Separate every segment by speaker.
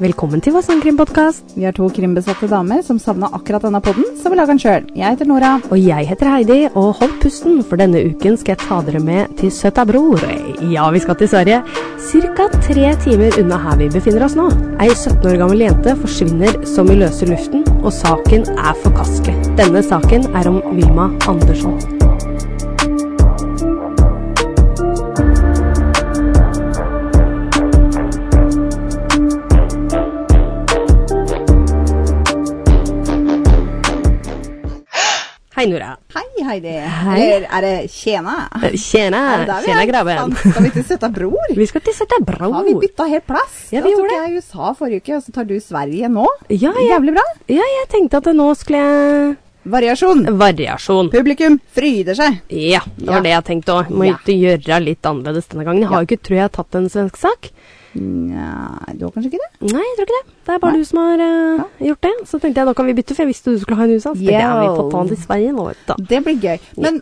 Speaker 1: Velkommen til vår sangkrimpodkast.
Speaker 2: Vi har to krimbesatte damer som savna akkurat denne podden, så vi lager den sjøl. Jeg heter Nora.
Speaker 1: Og jeg heter Heidi, og hold pusten, for denne uken skal jeg ta dere med til søta bror. Ja, vi skal til Sverige. Cirka tre timer unna her vi befinner oss nå. Ei 17 år gammel jente forsvinner som i løse luften, og saken er forkastelig. Denne saken er om Vilma Andersson. Hei, Nora.
Speaker 2: Hei, Heidi.
Speaker 1: Hei.
Speaker 2: Eller er det tjena? Er det
Speaker 1: Tjena.
Speaker 2: der vi
Speaker 1: Tjena,
Speaker 2: er?
Speaker 1: grabben.
Speaker 2: Faen, Skal vi ikke sette bror?
Speaker 1: Vi skal til søta
Speaker 2: Har vi
Speaker 1: bror.
Speaker 2: bytta helt plass?
Speaker 1: Ja, vi
Speaker 2: da
Speaker 1: gjorde
Speaker 2: tok jeg USA forrige uke, og så tar du Sverige nå.
Speaker 1: Ja, ja.
Speaker 2: Jævlig bra.
Speaker 1: Ja, jeg tenkte at nå skulle jeg
Speaker 2: Variasjon.
Speaker 1: Variasjon.
Speaker 2: Publikum fryder seg.
Speaker 1: Ja, det var
Speaker 2: Ja.
Speaker 1: det jeg tenkte òg. Må
Speaker 2: Ja.
Speaker 1: ikke gjøre litt annerledes denne gangen. Jeg har jo ikke, tror jeg, tatt en svensk sak.
Speaker 2: Nja, du har kanskje ikke det?
Speaker 1: Nei, jeg tror ikke det. Det er bare du som har eh, gjort det. Så tenkte jeg nå kan vi bytte, for jeg visste du skulle ha en USA. Så tenkte jeg, ja, vi får ta den til Sverige nå, vet du.
Speaker 2: Det blir gøy. Men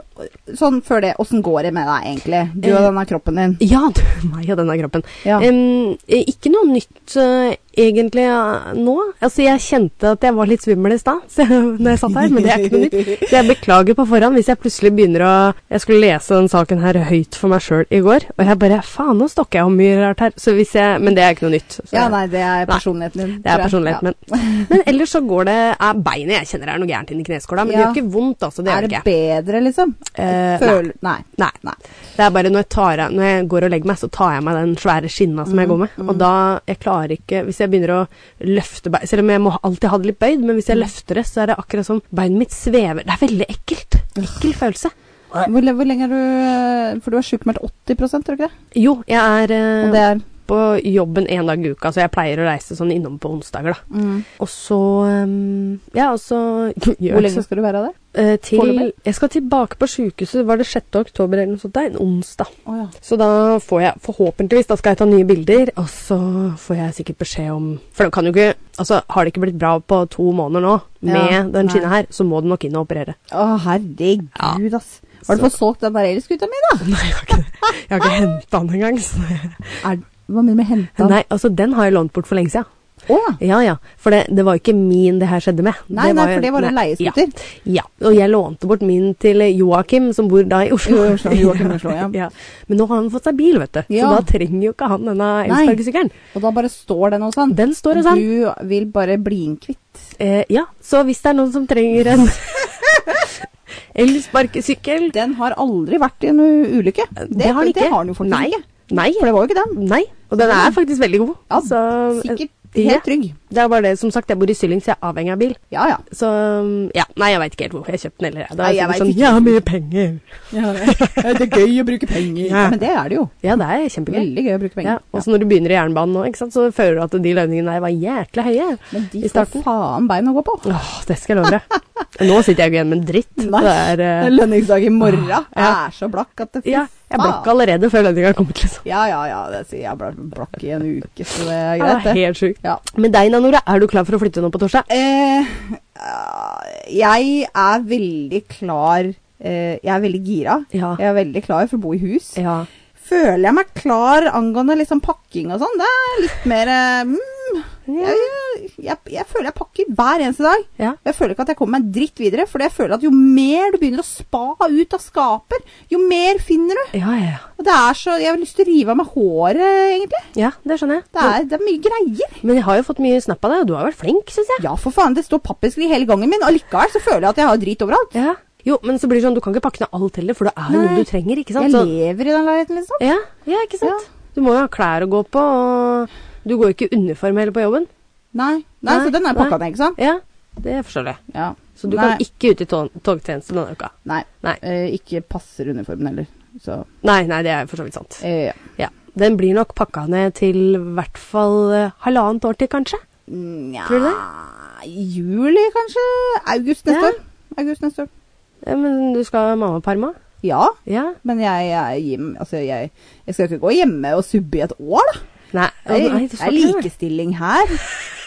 Speaker 2: sånn før det, åssen går det med deg egentlig? Du og denne kroppen din.
Speaker 1: Ja, du, meg og denne kroppen.
Speaker 2: Ja.
Speaker 1: Em, eh, ikke noe nytt eh, egentlig eh, nå. Altså, jeg kjente at jeg var litt svimmel i stad så- når jeg satt her, men det er ikke noe nytt. Så jeg beklager på forhånd hvis jeg plutselig begynner å Jeg skulle lese den saken her høyt for meg sjøl i går, og jeg bare Faen, nå stokker jeg om mye rart her. Så hvis jeg Men det er ikke noe nytt. Så
Speaker 2: Ja, nei, det er personligheten din.
Speaker 1: Det er
Speaker 2: tror jeg.
Speaker 1: personligheten min. Men ellers så går det er Beinet jeg kjenner er noe gærent inni kneskåla, men det
Speaker 2: Ja.
Speaker 1: gjør ikke vondt, altså. Det
Speaker 2: Ja. Er
Speaker 1: gjør det
Speaker 2: det
Speaker 1: ikke.
Speaker 2: bedre, liksom?
Speaker 1: Eh,
Speaker 2: Føl... Nei.
Speaker 1: Nei.
Speaker 2: Nei.
Speaker 1: Det er bare når jeg, tar av, når jeg går og legger meg, så tar jeg meg den svære skinna som jeg går med. Og da jeg klarer ikke Hvis jeg begynner å løfte bein Selv om jeg må alltid ha det litt bøyd, men hvis jeg løfter det, så er det akkurat som beinet mitt svever. Det er veldig ekkelt. Ekkel følelse.
Speaker 2: Hvor, le- hvor lenge er du eh, For du er sjukmeldt 80 tror du ikke det?
Speaker 1: Jo, jeg er eh,
Speaker 2: Og det er
Speaker 1: på jobben en dag i uka, så jeg pleier å reise sånn innom på onsdager, da. Og så um, Ja, og så
Speaker 2: mm. Hvor lenge skal du være av det?
Speaker 1: Eh, til,
Speaker 2: Foreløpig?
Speaker 1: jeg skal tilbake på sykehuset, var det 6. oktober eller noe sånt, der, en onsdag.
Speaker 2: Å ja.
Speaker 1: Så da får jeg forhåpentligvis, da skal jeg ta nye bilder, og så får jeg sikkert beskjed om For det kan jo ikke Altså, har det ikke blitt bra på to måneder nå med
Speaker 2: Ja,
Speaker 1: den
Speaker 2: nei.
Speaker 1: skinna her, så må du nok inn og operere.
Speaker 2: Å, herregud, ass. Har du
Speaker 1: Så-
Speaker 2: fått solgt den der elskuta mi, da?
Speaker 1: Nei, jeg har ikke det. Jeg har ikke henta den engang. så-
Speaker 2: Er, hva mener du med henta?
Speaker 1: Nei, altså, den har jeg lånt bort for lenge siden.
Speaker 2: Å ja.
Speaker 1: Ja ja, for det, det var jo ikke min det her skjedde med.
Speaker 2: Nei, nei,
Speaker 1: jo-
Speaker 2: for det var en
Speaker 1: nei,
Speaker 2: leieskuter.
Speaker 1: Ja, ja, og jeg lånte bort min til Joakim, som bor da i Oslo.
Speaker 2: Jo, i Oslo, Joakim i Oslo, ja.
Speaker 1: Men nå har han fått seg bil, vet du.
Speaker 2: Ja.
Speaker 1: Så da trenger jo ikke han denne
Speaker 2: Nei.
Speaker 1: elsparkesykkelen.
Speaker 2: Og da bare står sånn. den hos han?
Speaker 1: Den står hos han.
Speaker 2: Du vil bare bli den kvitt?
Speaker 1: Eh, ja, så hvis det er noen som trenger en elsparkesykkel
Speaker 2: Den har aldri vært i noe ulykke.
Speaker 1: Det har den ikke.
Speaker 2: Det har den jo faktisk
Speaker 1: Nei.
Speaker 2: ikke.
Speaker 1: Nei.
Speaker 2: For det var jo ikke den.
Speaker 1: Nei, og den er faktisk veldig god.
Speaker 2: Ja,
Speaker 1: Så, eh,
Speaker 2: sikkert
Speaker 1: ja.
Speaker 2: helt trygg.
Speaker 1: Det er bare det, som sagt, jeg bor i Sylling, så jeg er avhengig av bil.
Speaker 2: Ja, ja.
Speaker 1: Så mm, ja, nei, jeg veit ikke helt hvorfor jeg kjøpte den heller. Det er
Speaker 2: Nei, jeg
Speaker 1: sikkert
Speaker 2: vet
Speaker 1: sånn,
Speaker 2: ikke.
Speaker 1: Jeg har mye penger.
Speaker 2: det er gøy å bruke penger. Ja. Men det er det jo.
Speaker 1: Ja, det er kjempegøy.
Speaker 2: Veldig gøy å bruke
Speaker 1: Ja,
Speaker 2: penger.
Speaker 1: og så når du begynner i jernbanen nå, ikke sant, så føler du at de lønningene der var jækla høye
Speaker 2: Men de
Speaker 1: i
Speaker 2: får
Speaker 1: starten.
Speaker 2: faen bein å gå på.
Speaker 1: Åh, det skal jeg love deg. Nå sitter jeg jo igjen med en dritt. Det er, eh,
Speaker 2: Lønningsdag i morgen. Jeg
Speaker 1: Ja.
Speaker 2: er så blakk at det
Speaker 1: ja, jeg
Speaker 2: faen.
Speaker 1: blakk allerede før lønninga kom ut, liksom.
Speaker 2: Ja, ja, ja. Det sier jeg ble blakk i en uke, så det er
Speaker 1: Ja,
Speaker 2: greit,
Speaker 1: det er
Speaker 2: det.
Speaker 1: helt sjukt.
Speaker 2: Ja.
Speaker 1: Men deg, Nanora, er du klar for å flytte nå på torsdag?
Speaker 2: Eh, ah, jeg er veldig klar eh, Jeg er veldig gira.
Speaker 1: Ja.
Speaker 2: Jeg er veldig klar for å bo i hus.
Speaker 1: Ja.
Speaker 2: Føler jeg meg klar angående liksom pakking og sånn? Det er litt mer eh, mm,
Speaker 1: Ja.
Speaker 2: jeg, jeg, jeg føler jeg pakker hver eneste dag.
Speaker 1: Ja.
Speaker 2: Jeg føler ikke at jeg kommer meg dritt videre, for jeg føler at jo mer du begynner å spa ut av skaper, jo mer finner du.
Speaker 1: Ja, ja,
Speaker 2: Og det er så, Jeg har lyst til å rive av meg håret, egentlig.
Speaker 1: ja. Det skjønner jeg.
Speaker 2: Det er, det er mye greier.
Speaker 1: Men jeg har jo fått mye snap av deg, og du har vært flink, syns jeg.
Speaker 2: Ja, for faen, det står pappeski hele gangen min, og likevel så føler jeg at jeg har drit overalt.
Speaker 1: Ja. Jo, men så blir det sånn, du kan ikke pakke ned alt heller, for det er jo
Speaker 2: Nei.
Speaker 1: noe du trenger, ikke sant?
Speaker 2: Jeg
Speaker 1: Så,
Speaker 2: lever i den leiligheten, liksom.
Speaker 1: ja, ja, ikke sant? Du må jo ha klær å gå på, og du går jo ikke i uniform heller på jobben.
Speaker 2: Nei, nei,
Speaker 1: Nei,
Speaker 2: så den er
Speaker 1: nei.
Speaker 2: pakka ned, ikke sant?
Speaker 1: Ja, det forstår jeg.
Speaker 2: Ja.
Speaker 1: Så du
Speaker 2: nei,
Speaker 1: kan ikke ut i tog togtjeneste denne uka?
Speaker 2: Nei.
Speaker 1: Nei.
Speaker 2: eh, ikke passer uniformen heller. Så
Speaker 1: Nei, nei, det er for så vidt sant.
Speaker 2: eh, ja.
Speaker 1: Ja. Den blir nok pakka ned til i hvert fall eh, halvannet år til, kanskje.
Speaker 2: Nja
Speaker 1: Tror du
Speaker 2: Juli, kanskje? August neste
Speaker 1: Ja.
Speaker 2: år. August neste år.
Speaker 1: Ja, men du skal ha mammaperma?
Speaker 2: Ja.
Speaker 1: Ja.
Speaker 2: Men jeg, jeg, gir- altså jeg, jeg skal ikke gå hjemme og subbe i et år, da.
Speaker 1: Nei, å,
Speaker 2: Det
Speaker 1: nei,
Speaker 2: er,
Speaker 1: du
Speaker 2: det
Speaker 1: skal
Speaker 2: er
Speaker 1: ikke det.
Speaker 2: likestilling her.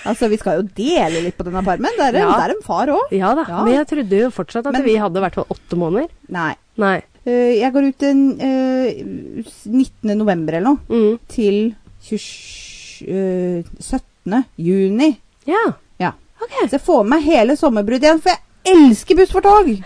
Speaker 2: Altså, vi skal jo dele litt på denne parmen. Det er, en-
Speaker 1: Ja.
Speaker 2: det er en far òg.
Speaker 1: Ja da,
Speaker 2: Ja.
Speaker 1: men jeg trodde jo fortsatt at
Speaker 2: Men-
Speaker 1: vi hadde i hvert fall åtte måneder.
Speaker 2: Nei.
Speaker 1: Nei.
Speaker 2: Eh, jeg går ut den eh, 19. november eller noe,
Speaker 1: Mm.
Speaker 2: til 27, eh, 17. 17. juni.
Speaker 1: Ja.
Speaker 2: Ja.
Speaker 1: Ok.
Speaker 2: Så jeg får med meg hele sommerbruddet igjen, for jeg elsker buss for tog!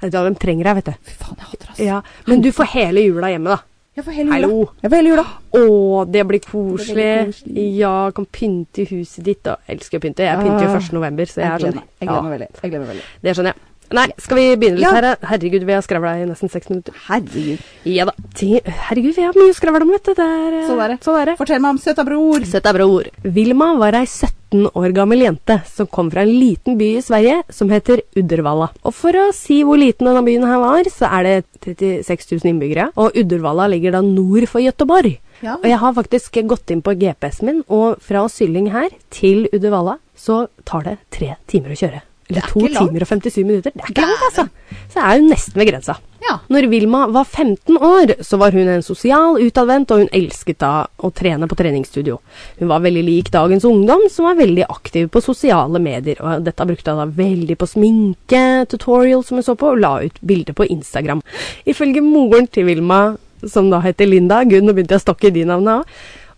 Speaker 1: Vet du hva, de trenger deg, vet du.
Speaker 2: Fy faen, jeg hater det, altså.
Speaker 1: Ja, Men du får hele jula hjemme, da.
Speaker 2: Jeg får hele
Speaker 1: Hallo.
Speaker 2: jula. Jeg får hele jula.
Speaker 1: Å, det blir
Speaker 2: Det blir
Speaker 1: koselig.
Speaker 2: koselig.
Speaker 1: Ja, kan pynte i huset ditt. Og jeg elsker å pynte. Jeg pynter jo
Speaker 2: Ah.
Speaker 1: 1. november, så jeg
Speaker 2: Jeg
Speaker 1: er
Speaker 2: gleder
Speaker 1: sånn
Speaker 2: meg jeg gleder meg veldig. Jeg gleder meg veldig.
Speaker 1: Det skjønner jeg. Nei, skal vi begynne litt
Speaker 2: Ja.
Speaker 1: her? da? Herregud, vi har skravla i nesten seks minutter.
Speaker 2: Herregud.
Speaker 1: Ja da. Ti- Herregud, vi har mye å skravle om, vet du. Det er, eh,
Speaker 2: Sånn er det.
Speaker 1: Sånn er det.
Speaker 2: Fortell meg om søta bror.
Speaker 1: Sett deg, bror. Vilma var ei 17 år gammel jente som kom fra en liten by i Sverige som heter Uddervalla. Og for å si hvor liten denne byen her var, så er det 36 000 innbyggere. Og Uddervalla ligger da nord for Gøteborg.
Speaker 2: Ja.
Speaker 1: Og jeg har faktisk gått inn på GPS-en min, og fra Sylling her til Uddervalla så tar det tre timer å kjøre. Eller
Speaker 2: Det er
Speaker 1: to
Speaker 2: ikke langt.
Speaker 1: timer og 57 minutter. Det er ikke langt, altså. Så det er jo nesten ved grensa.
Speaker 2: Ja.
Speaker 1: Når Vilma var 15 år, så var hun en sosial, utadvendt, og hun elsket da å trene på treningsstudio. Hun var veldig lik dagens ungdom, som var veldig aktiv på sosiale medier. og Dette brukte hun da veldig på sminke, tutorial som hun så på, og la ut bilder på Instagram. Ifølge moren til Vilma, som da heter Linda Gunn, nå begynte jeg å stokke i de navnene òg,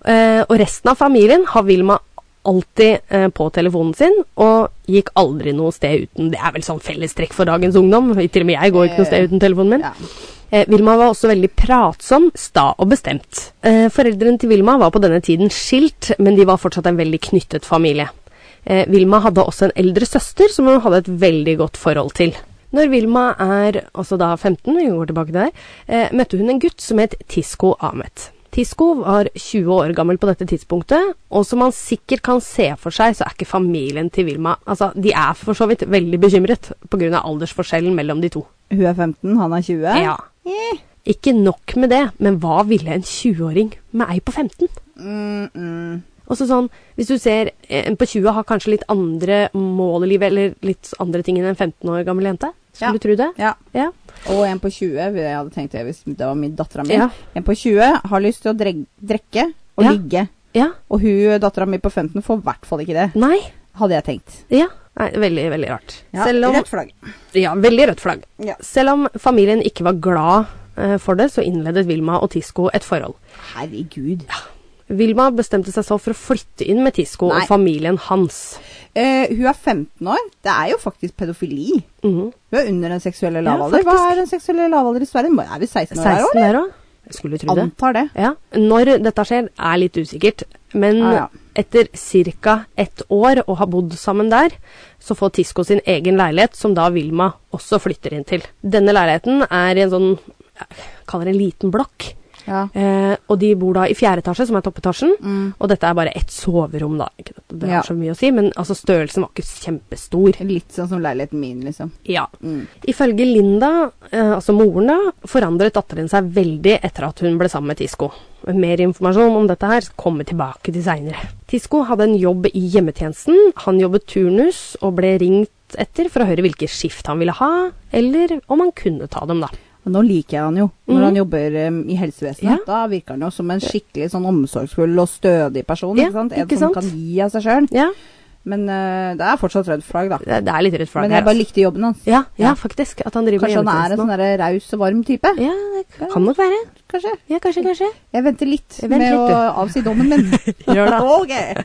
Speaker 1: eh, og resten av familien har Vilma alltid eh, på telefonen sin, og gikk aldri noe sted uten. Det er vel sånn fellestrekk for dagens ungdom. Til og med jeg går ikke noe sted uten telefonen min.
Speaker 2: Ja.
Speaker 1: Eh, Vilma var også veldig pratsom, sta og bestemt. Eh, foreldrene til Vilma var på denne tiden skilt, men de var fortsatt en veldig knyttet familie. Eh, Vilma hadde også en eldre søster som hun hadde et veldig godt forhold til. Når Vilma er altså da 15, vi går tilbake til der, eh, møtte hun en gutt som het Tisko Ahmet. Tisko var 20 år gammel på dette tidspunktet, og som man sikkert kan se for seg, så er ikke familien til Vilma Altså, de er for så vidt veldig bekymret pga. aldersforskjellen mellom de to.
Speaker 2: Hun er 15, han er 20.
Speaker 1: Ja.
Speaker 2: Eh.
Speaker 1: Ikke nok med det, men hva ville en 20-åring med ei på 15?
Speaker 2: Mm, mm.
Speaker 1: Og så sånn, Hvis du ser eh, en på 20 har kanskje litt andre mål i livet, eller litt andre ting enn en 15 år gammel jente. Skulle
Speaker 2: Ja.
Speaker 1: du tro det?
Speaker 2: Ja.
Speaker 1: Ja.
Speaker 2: Og en på 20, jeg hadde tenkt det hvis det var min dattera mi.
Speaker 1: Ja.
Speaker 2: En på 20 har lyst til å dreg- drikke og
Speaker 1: Ja.
Speaker 2: ligge.
Speaker 1: ja.
Speaker 2: Og hun dattera mi på 15 får i hvert fall ikke det,
Speaker 1: Nei.
Speaker 2: hadde jeg tenkt.
Speaker 1: Ja. Nei, veldig, veldig rart.
Speaker 2: Ja,
Speaker 1: Selv om,
Speaker 2: Rødt flagg.
Speaker 1: ja, veldig rødt flagg.
Speaker 2: Ja.
Speaker 1: Selv om familien ikke var glad eh, for det, så innledet Vilma og Tisko et forhold.
Speaker 2: Herregud.
Speaker 1: Vilma bestemte seg så for å flytte inn med Tisko
Speaker 2: Nei.
Speaker 1: og familien hans.
Speaker 2: Eh, hun er 15 år. Det er jo faktisk pedofili.
Speaker 1: Mhm.
Speaker 2: Hun er under den seksuelle
Speaker 1: Ja,
Speaker 2: lavalder. Hva
Speaker 1: faktisk.
Speaker 2: er den seksuelle lavalder i Sverige? Må- Er vi 16 år her
Speaker 1: 16
Speaker 2: òg?
Speaker 1: der òg? Skulle tro det.
Speaker 2: Antar det.
Speaker 1: Ja, Når dette skjer, er litt usikkert. Men
Speaker 2: Ja, ja.
Speaker 1: etter ca. ett år å ha bodd sammen der, så får Tisko sin egen leilighet, som da Vilma også flytter inn til. Denne leiligheten er i en sånn jeg kaller det en liten blokk.
Speaker 2: Ja.
Speaker 1: Eh, og de bor da i fjerde etasje, som er toppetasjen. Og dette er bare ett soverom, da. Ikke at det
Speaker 2: Mm. Ja.
Speaker 1: er så mye å si, men altså, størrelsen var ikke kjempestor.
Speaker 2: Litt sånn som leiligheten min, liksom.
Speaker 1: Ja. Ifølge Linda, eh, altså moren da, forandret datteren seg veldig etter at hun ble sammen med Tisko. Mer informasjon om dette her kommer tilbake til seinere. Tisko hadde en jobb i hjemmetjenesten. Han jobbet turnus og ble ringt etter for å høre hvilke skift han ville ha, eller om han kunne ta dem, da.
Speaker 2: Og nå liker jeg han jo, når han jobber em, i helsevesenet.
Speaker 1: Mhm. Ja.
Speaker 2: Da virker han jo som en skikkelig sånn omsorgsfull og stødig person.
Speaker 1: Ja,
Speaker 2: ikke sant? En
Speaker 1: ikke sant?
Speaker 2: som kan gi av seg sjøl.
Speaker 1: Ja,
Speaker 2: Men eh, det er fortsatt rødt flagg, da.
Speaker 1: det det er litt rødt flagg
Speaker 2: Men
Speaker 1: her.
Speaker 2: jeg bare
Speaker 1: Altså.
Speaker 2: likte jobben hans.
Speaker 1: Ja, ja,
Speaker 2: Ja.
Speaker 1: faktisk. At han driver
Speaker 2: Kanskje han er en sånn
Speaker 1: hjemmetjenesten.
Speaker 2: der raus og varm type.
Speaker 1: Ja, det kan nok være.
Speaker 2: Kanskje.
Speaker 1: Ja, kanskje, kanskje.
Speaker 2: Jeg venter litt
Speaker 1: Vent
Speaker 2: med
Speaker 1: litt, du.
Speaker 2: å avsi dommen min.
Speaker 1: Gjør det.
Speaker 2: Ok.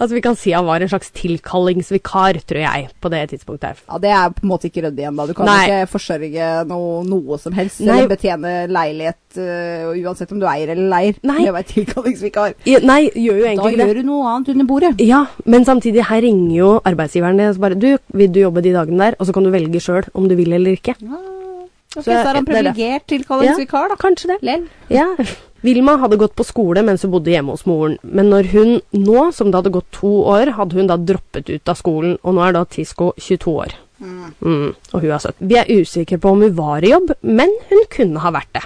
Speaker 1: Altså, vi kan si han var en slags tilkallingsvikar, tror jeg, på det tidspunktet her.
Speaker 2: Ja, Det er på en måte ikke ryddig igjen, da. Du kan
Speaker 1: Nei.
Speaker 2: ikke forsørge noe, noe som helst.
Speaker 1: Nei.
Speaker 2: Eller betjene leilighet, øh, og uansett om du eier eller leier.
Speaker 1: Nei.
Speaker 2: Det var tilkallingsvikar.
Speaker 1: Ja, Nei, gjør jo
Speaker 2: Da
Speaker 1: egentlig ikke det.
Speaker 2: gjør du noe annet under bordet.
Speaker 1: Ja, men samtidig, her ringer jo arbeidsgiveren din og så bare Du, vil du jobbe de dagene der? Og så kan du velge sjøl om du vil eller ikke.
Speaker 2: Ok,
Speaker 1: Så
Speaker 2: så er han
Speaker 1: det er det.
Speaker 2: privilegert tilkallingsvikar, da.
Speaker 1: Kanskje det.
Speaker 2: Lell.
Speaker 1: Ja. Vilma hadde gått på skole mens hun bodde hjemme hos moren, men når hun nå, som det hadde gått to år, hadde hun da droppet ut av skolen, og nå er da Tisco 22 år. Mm, og hun er 17. Vi er usikre på om hun var i jobb, men hun kunne ha vært det.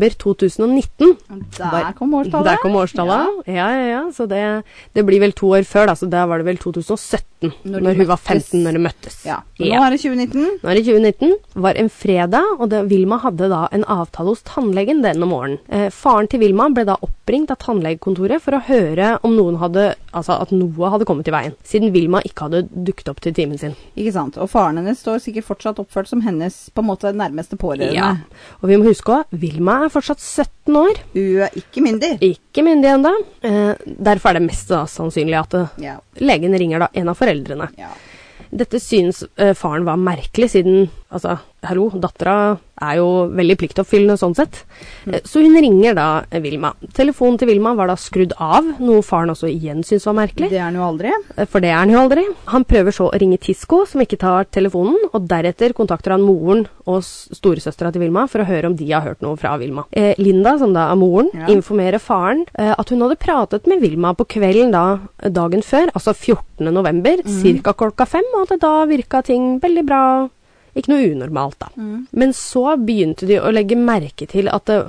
Speaker 1: 15.11.2019
Speaker 2: Der kom årstallet.
Speaker 1: Der kom årstallet. Ja, ja, ja. Så det, det blir vel to år før, da. Så der var det vel 2017.
Speaker 2: Når de
Speaker 1: Når, hun var
Speaker 2: møttes.
Speaker 1: 15, når de møttes.
Speaker 2: Ja. Men
Speaker 1: Ja.
Speaker 2: Nå er det 2019.
Speaker 1: Nå er det 2019. var en fredag, og det, Vilma hadde da en avtale hos tannlegen denne morgenen. Eh, faren til Vilma ble da oppringt av tannlegekontoret for å høre om noen hadde, altså at noe hadde kommet i veien, siden Vilma ikke hadde dukket opp til timen sin.
Speaker 2: Ikke sant. Og faren hennes står sikkert fortsatt oppført som hennes på en måte nærmeste pårørende.
Speaker 1: Og vi må huske òg, Vilma er fortsatt 17 år.
Speaker 2: Hun er ikke myndig.
Speaker 1: Ikke ikke myndig ennå. Eh, derfor er det mest da, sannsynlig at eh,
Speaker 2: Ja.
Speaker 1: legen ringer da en av foreldrene.
Speaker 2: ja.
Speaker 1: Dette syns eh, faren var merkelig, siden altså, hallo, dattera er jo veldig pliktoppfyllende sånn sett. Eh, Så hun ringer da eh, Vilma. Telefonen til Vilma var da skrudd av, noe faren også igjen syns var merkelig.
Speaker 2: Det er han jo aldri.
Speaker 1: eh, For det er han jo aldri. Han prøver så å ringe Tisco, som ikke tar telefonen, og deretter kontakter han moren og s- storesøstera til Vilma for å høre om de har hørt noe fra Vilma. Eh, Linda, som da er moren,
Speaker 2: Ja.
Speaker 1: informerer faren eh, at hun hadde pratet med Vilma på kvelden da, dagen før, altså 14. november, cirka klokka fem, og at det da virka ting veldig bra. Ikke noe unormalt, da.
Speaker 2: Mm.
Speaker 1: Men så begynte de å legge merke til at det,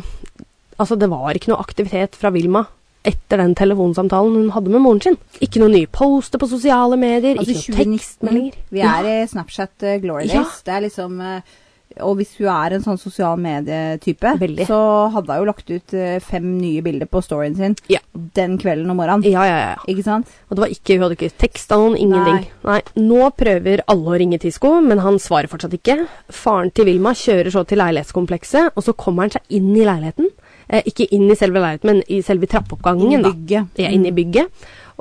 Speaker 1: altså det var ikke noe aktivitet fra Vilma etter den telefonsamtalen hun hadde med moren sin. Ikke noen nye poster på sosiale medier,
Speaker 2: Altså
Speaker 1: ikke noen
Speaker 2: 2019.
Speaker 1: tekstmeldinger.
Speaker 2: Vi er i Snapchat eh, glory days.
Speaker 1: Ja.
Speaker 2: Det er liksom eh, Og hvis hun er en sånn sosial medietype,
Speaker 1: Veldig.
Speaker 2: så hadde hun jo lagt ut eh, fem nye bilder på storyen sin
Speaker 1: Ja.
Speaker 2: den kvelden om morgenen.
Speaker 1: Ja, ja, ja.
Speaker 2: Ikke sant?
Speaker 1: Og det var ikke, hun hadde ikke teksta noen, ingenting. Nei. Nå prøver alle å ringe Tisco, men han svarer fortsatt ikke. Faren til Vilma kjører så til leilighetskomplekset, og så kommer han seg inn i leiligheten. Eh, ikke inn i selve leiligheten, men i selve
Speaker 2: I
Speaker 1: trappeoppgangen. da.
Speaker 2: bygget.
Speaker 1: Ja, inn i bygget.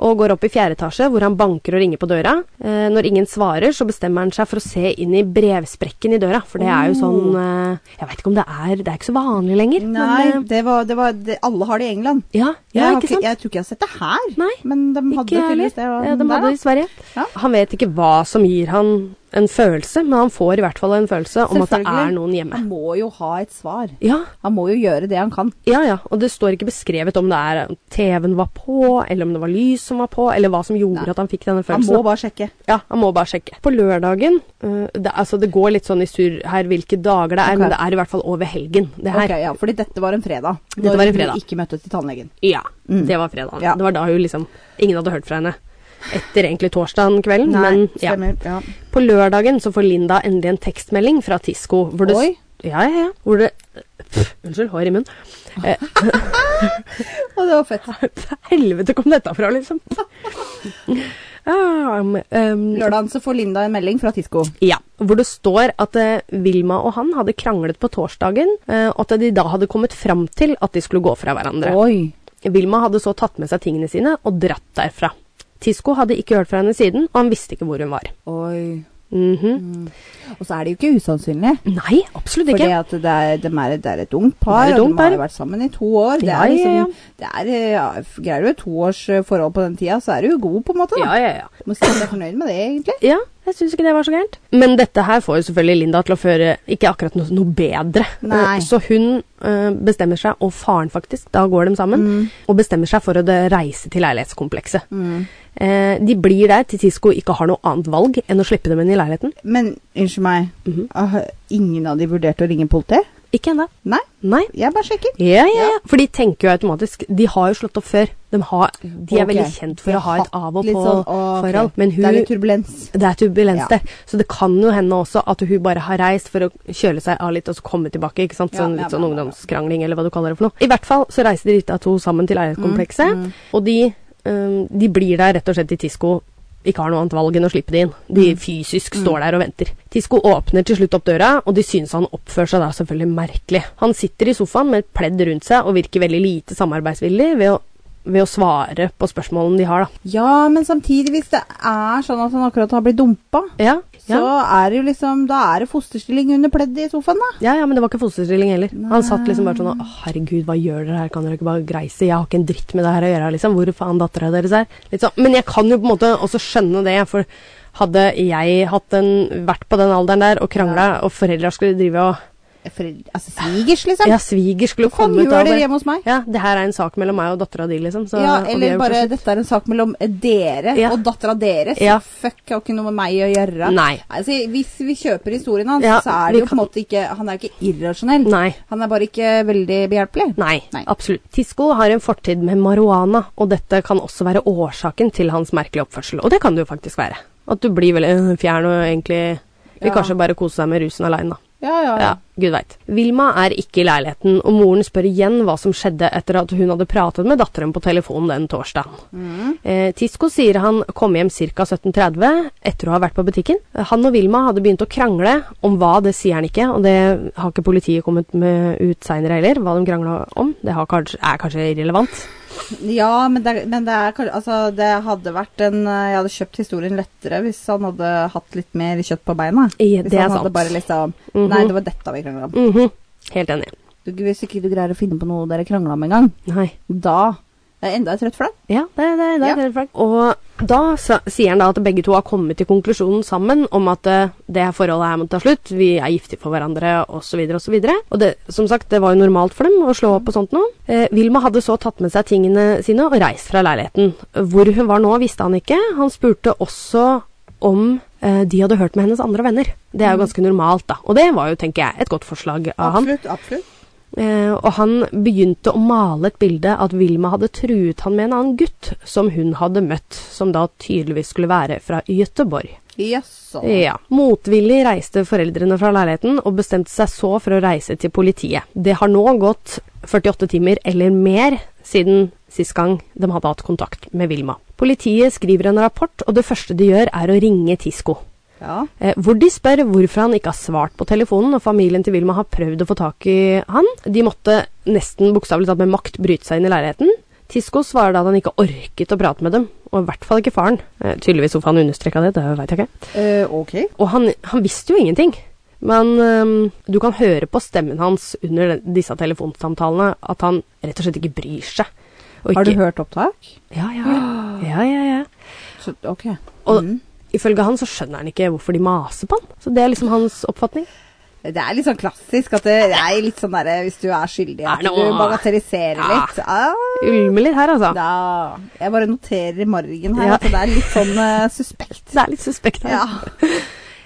Speaker 1: Og går opp i fjerde etasje, hvor han banker og ringer på døra. Eh, når ingen svarer, så bestemmer han seg for å se inn i brevsprekken i døra. For det er jo sånn eh, Jeg veit ikke om det er Det er ikke så vanlig lenger.
Speaker 2: Oh. Nei,
Speaker 1: Men, eh,
Speaker 2: det var, det var det, Alle har det i England.
Speaker 1: ja, ja,
Speaker 2: jeg, har
Speaker 1: ikke sant?
Speaker 2: jeg tror ikke jeg har sett det her,
Speaker 1: Nei,
Speaker 2: men de hadde
Speaker 1: Ikke jeg heller.
Speaker 2: tydeligvis det. da,
Speaker 1: Ja, de
Speaker 2: der,
Speaker 1: hadde det
Speaker 2: da.
Speaker 1: i Sverige.
Speaker 2: Ja.
Speaker 1: Han vet ikke hva som gir han en følelse, men han får i hvert fall en følelse om at det
Speaker 2: Selvfølgelig.
Speaker 1: er noen hjemme.
Speaker 2: Han må jo ha et svar.
Speaker 1: Ja,
Speaker 2: Han må jo gjøre det han kan.
Speaker 1: ja, ja. Og det står ikke beskrevet om det er om TV-en var på, eller om det var lys som var på, eller hva som gjorde
Speaker 2: Nei.
Speaker 1: at han fikk denne
Speaker 2: Han
Speaker 1: følelsen.
Speaker 2: må bare sjekke.
Speaker 1: Ja, han må bare sjekke. På lørdagen øh, det, altså det går litt sånn i surr her hvilke dager det er,
Speaker 2: Ok.
Speaker 1: men det er i hvert fall over helgen. det her.
Speaker 2: Ok, ja, fordi dette var en fredag.
Speaker 1: Dette
Speaker 2: Når
Speaker 1: var en
Speaker 2: hun
Speaker 1: fredag.
Speaker 2: Ikke møtte til tannlegen.
Speaker 1: Ja,
Speaker 2: Mm.
Speaker 1: det var fredagen.
Speaker 2: Ja.
Speaker 1: Det var da hun liksom Ingen hadde hørt fra henne etter egentlig torsdagen kvelden, men ja.
Speaker 2: stemmer. Ja.
Speaker 1: På lørdagen så får Linda endelig en tekstmelding fra Tisco hvor det
Speaker 2: Oi.
Speaker 1: Ja, ja, ja. Hvor det Pff, Unnskyld, hår i munnen. Eh,
Speaker 2: Og det var fett.
Speaker 1: helvete kom dette fra, liksom? Ah, um, um,
Speaker 2: Lørdagen så får Linda en melding fra Tisco.
Speaker 1: Ja, hvor det står at eh, Vilma og han hadde kranglet på torsdagen, eh, og at de da hadde kommet fram til at de skulle gå fra hverandre.
Speaker 2: Oi.
Speaker 1: Vilma hadde så tatt med seg tingene sine og dratt derfra. Tisco hadde ikke hørt fra henne siden, og han visste ikke hvor hun var.
Speaker 2: Oi.
Speaker 1: Mhm.
Speaker 2: Og så er det jo ikke usannsynlig.
Speaker 1: Nei, absolutt
Speaker 2: Fordi
Speaker 1: ikke.
Speaker 2: at det er, dem er, det er et ungt par,
Speaker 1: Det er et
Speaker 2: og
Speaker 1: ungt
Speaker 2: de har jo
Speaker 1: par.
Speaker 2: vært sammen i to år. Det
Speaker 1: Ja,
Speaker 2: er liksom,
Speaker 1: ja, ja.
Speaker 2: Det er, eh, ja, greier du et toårsforhold på den tida, så er du jo god, på en måte. Da.
Speaker 1: Ja, ja, ja.
Speaker 2: Må si at jeg er fornøyd med det, egentlig.
Speaker 1: Ja, jeg syns ikke det var så gærent. Men dette her får jo selvfølgelig Linda til å føre ikke akkurat noe, noe bedre.
Speaker 2: Nei.
Speaker 1: Eh, Så hun eh, bestemmer seg, og faren faktisk, da går de sammen,
Speaker 2: Mm.
Speaker 1: og bestemmer seg for å eh, reise til leilighetskomplekset. Eh, de blir der til Tisco ikke har noe annet valg enn å slippe dem inn i leiligheten.
Speaker 2: Men unnskyld meg,
Speaker 1: Mhm.
Speaker 2: ah, ingen av de vurderte å ringe politiet?
Speaker 1: Ikke ennå.
Speaker 2: Nei,
Speaker 1: Nei.
Speaker 2: jeg bare sjekker.
Speaker 1: Ja, ja,
Speaker 2: Ja.
Speaker 1: ja. For de tenker jo automatisk De har jo slått opp før. De, har, de er
Speaker 2: Ok.
Speaker 1: veldig kjent for
Speaker 2: De
Speaker 1: å ha et
Speaker 2: hatt
Speaker 1: av og
Speaker 2: litt sånn, ok,
Speaker 1: på-forhold. Men
Speaker 2: Det er
Speaker 1: hun
Speaker 2: litt turbulens.
Speaker 1: Det er turbulens
Speaker 2: Ja.
Speaker 1: der. Så det kan jo hende også at hun bare har reist for å kjøle seg av litt og så komme tilbake. ikke sant?
Speaker 2: Ja,
Speaker 1: Sånn,
Speaker 2: ja,
Speaker 1: litt
Speaker 2: ja,
Speaker 1: sånn
Speaker 2: ja, ja.
Speaker 1: ungdomskrangling eller hva du kaller det for noe. I hvert fall så reiser de da to sammen til eierkomplekset,
Speaker 2: Mm,
Speaker 1: og de, øhm, de blir der rett og slett i Tisco. Ikke har noe annet valg enn å slippe de inn. De
Speaker 2: Mm.
Speaker 1: fysisk står der og venter. Tisco åpner til slutt opp døra, og de syns han oppfører seg da selvfølgelig merkelig. Han sitter i sofaen med et pledd rundt seg og virker veldig lite samarbeidsvillig ved å, ved å svare på spørsmålene de har, da.
Speaker 2: Ja, men samtidig, hvis det er sånn at han akkurat har blitt dumpa,
Speaker 1: Ja,
Speaker 2: så er det jo liksom Da er det fosterstilling under pleddet i sofaen, da.
Speaker 1: Ja, ja, men det var ikke fosterstilling heller. Han satt liksom bare sånn og, «Å, herregud, hva gjør dere her, kan dere ikke bare greise? Jeg har ikke en dritt med det her å gjøre, liksom. Hvor faen dattera deres er? Litt sånn. Men jeg kan jo på en måte også skjønne det, for hadde jeg hatt en, vært på den alderen der og krangla, og foreldra skulle drive og
Speaker 2: Foreldre- altså svigers, liksom.
Speaker 1: Ja, sviger skulle
Speaker 2: Hva faen
Speaker 1: komme ut
Speaker 2: gjør
Speaker 1: av
Speaker 2: dere
Speaker 1: det.
Speaker 2: hjemme hos meg?
Speaker 1: Ja, det her er en sak mellom meg og dattera di, liksom. Så,
Speaker 2: Ja,
Speaker 1: og vi
Speaker 2: eller
Speaker 1: har gjort
Speaker 2: bare
Speaker 1: oss-
Speaker 2: dette er en sak mellom dere
Speaker 1: Ja.
Speaker 2: og dattera deres.
Speaker 1: Ja.
Speaker 2: Fuck, har ikke noe med meg å gjøre.
Speaker 1: Nei.
Speaker 2: Altså, hvis vi kjøper historien hans,
Speaker 1: Ja,
Speaker 2: så er
Speaker 1: vi
Speaker 2: det jo på
Speaker 1: kan-
Speaker 2: en måte ikke Han er jo ikke irrasjonell.
Speaker 1: Nei.
Speaker 2: Han er bare ikke veldig behjelpelig.
Speaker 1: Nei,
Speaker 2: Nei.
Speaker 1: absolutt. Tisco har en fortid med marihuana, og dette kan også være årsaken til hans merkelige oppførsel. Og det kan det jo faktisk være. At du blir veldig øh, fjern og egentlig vil
Speaker 2: Ja.
Speaker 1: kanskje bare kose seg med rusen aleine, da.
Speaker 2: Ja, ja, ja.
Speaker 1: Ja, gud veit. Vilma er ikke i leiligheten, og moren spør igjen hva som skjedde etter at hun hadde pratet med datteren på telefon den torsdagen. Eh, Tisco sier han kom hjem ca. 17.30 etter å ha vært på butikken. Eh, Han og Vilma hadde begynt å krangle om hva, det sier han ikke, og det har ikke politiet kommet med ut seinere heller, hva de krangla om. Det har kanskje, er kanskje irrelevant.
Speaker 2: Ja, men, det, men det, er, kal- altså, det hadde vært en eh, Jeg hadde kjøpt historien lettere hvis han hadde hatt litt mer kjøtt på beina.
Speaker 1: I-
Speaker 2: Hvis
Speaker 1: det er
Speaker 2: han
Speaker 1: sant.
Speaker 2: hadde bare liksom
Speaker 1: Mhm.
Speaker 2: Nei, det var dette vi krangla om.
Speaker 1: Mhm. Helt enig.
Speaker 2: Du, hvis ikke du greier å finne på noe dere krangla om engang,
Speaker 1: Nei.
Speaker 2: da er jeg enda trøtt for deg.
Speaker 1: Ja, det, det, det
Speaker 2: Ja.
Speaker 1: er helt frank. Og da sa, sier han da at begge to har kommet til konklusjonen sammen om at eh, det her forholdet her må ta slutt, vi er giftige for hverandre osv. osv. Og det, som sagt, det var jo normalt for dem å slå opp og sånt noe. Eh, Vilma hadde så tatt med seg tingene sine og reist fra leiligheten. Hvor hun var nå, visste han ikke. Han spurte også om eh, de hadde hørt med hennes andre venner. Det er jo ganske normalt, da. Og det var jo, tenker jeg, et godt forslag av han.
Speaker 2: Absolutt. absolutt.
Speaker 1: Eh, og han begynte å male et bilde at Vilma hadde truet han med en annen gutt som hun hadde møtt, som da tydeligvis skulle være fra Gøteborg.
Speaker 2: Jaså.
Speaker 1: Ja. Motvillig reiste foreldrene fra leiligheten og bestemte seg så for å reise til politiet. Det har nå gått 48 timer eller mer siden sist gang de hadde hatt kontakt med Vilma. Politiet skriver en rapport, og det første de gjør er å ringe Tisco.
Speaker 2: Ja.
Speaker 1: Eh, Hvor de spør hvorfor han ikke har svart på telefonen, og familien til Vilma har prøvd å få tak i han. De måtte nesten bokstavelig talt med makt bryte seg inn i leiligheten. Tisco svarer da at han ikke orket å prate med dem, og i hvert fall ikke faren. Eh, tydeligvis hvorfor han understreka det, det veit jeg ikke.
Speaker 2: Eh, ok.
Speaker 1: Og han, han visste jo ingenting. Men ehm, du kan høre på stemmen hans under den, disse telefonsamtalene at han rett og slett ikke bryr seg. Og
Speaker 2: Har du
Speaker 1: ikke-
Speaker 2: hørt opptak?
Speaker 1: Ja, ja, ja. ja, ja, ja.
Speaker 2: Så, ok.
Speaker 1: Og-
Speaker 2: Mm.
Speaker 1: Ifølge han så skjønner han ikke hvorfor de maser på han. Så det er liksom hans oppfatning.
Speaker 2: Det er litt sånn klassisk at det det er litt sånn derre hvis du er skyldig, at
Speaker 1: Er det
Speaker 2: du
Speaker 1: noe-
Speaker 2: bagatelliserer
Speaker 1: Ja.
Speaker 2: litt. Ah,
Speaker 1: Ulmer litt her, altså.
Speaker 2: da. Jeg bare noterer i margen her
Speaker 1: Ja.
Speaker 2: at det er litt sånn eh, suspekt.
Speaker 1: Det er litt suspekt her.
Speaker 2: Ja.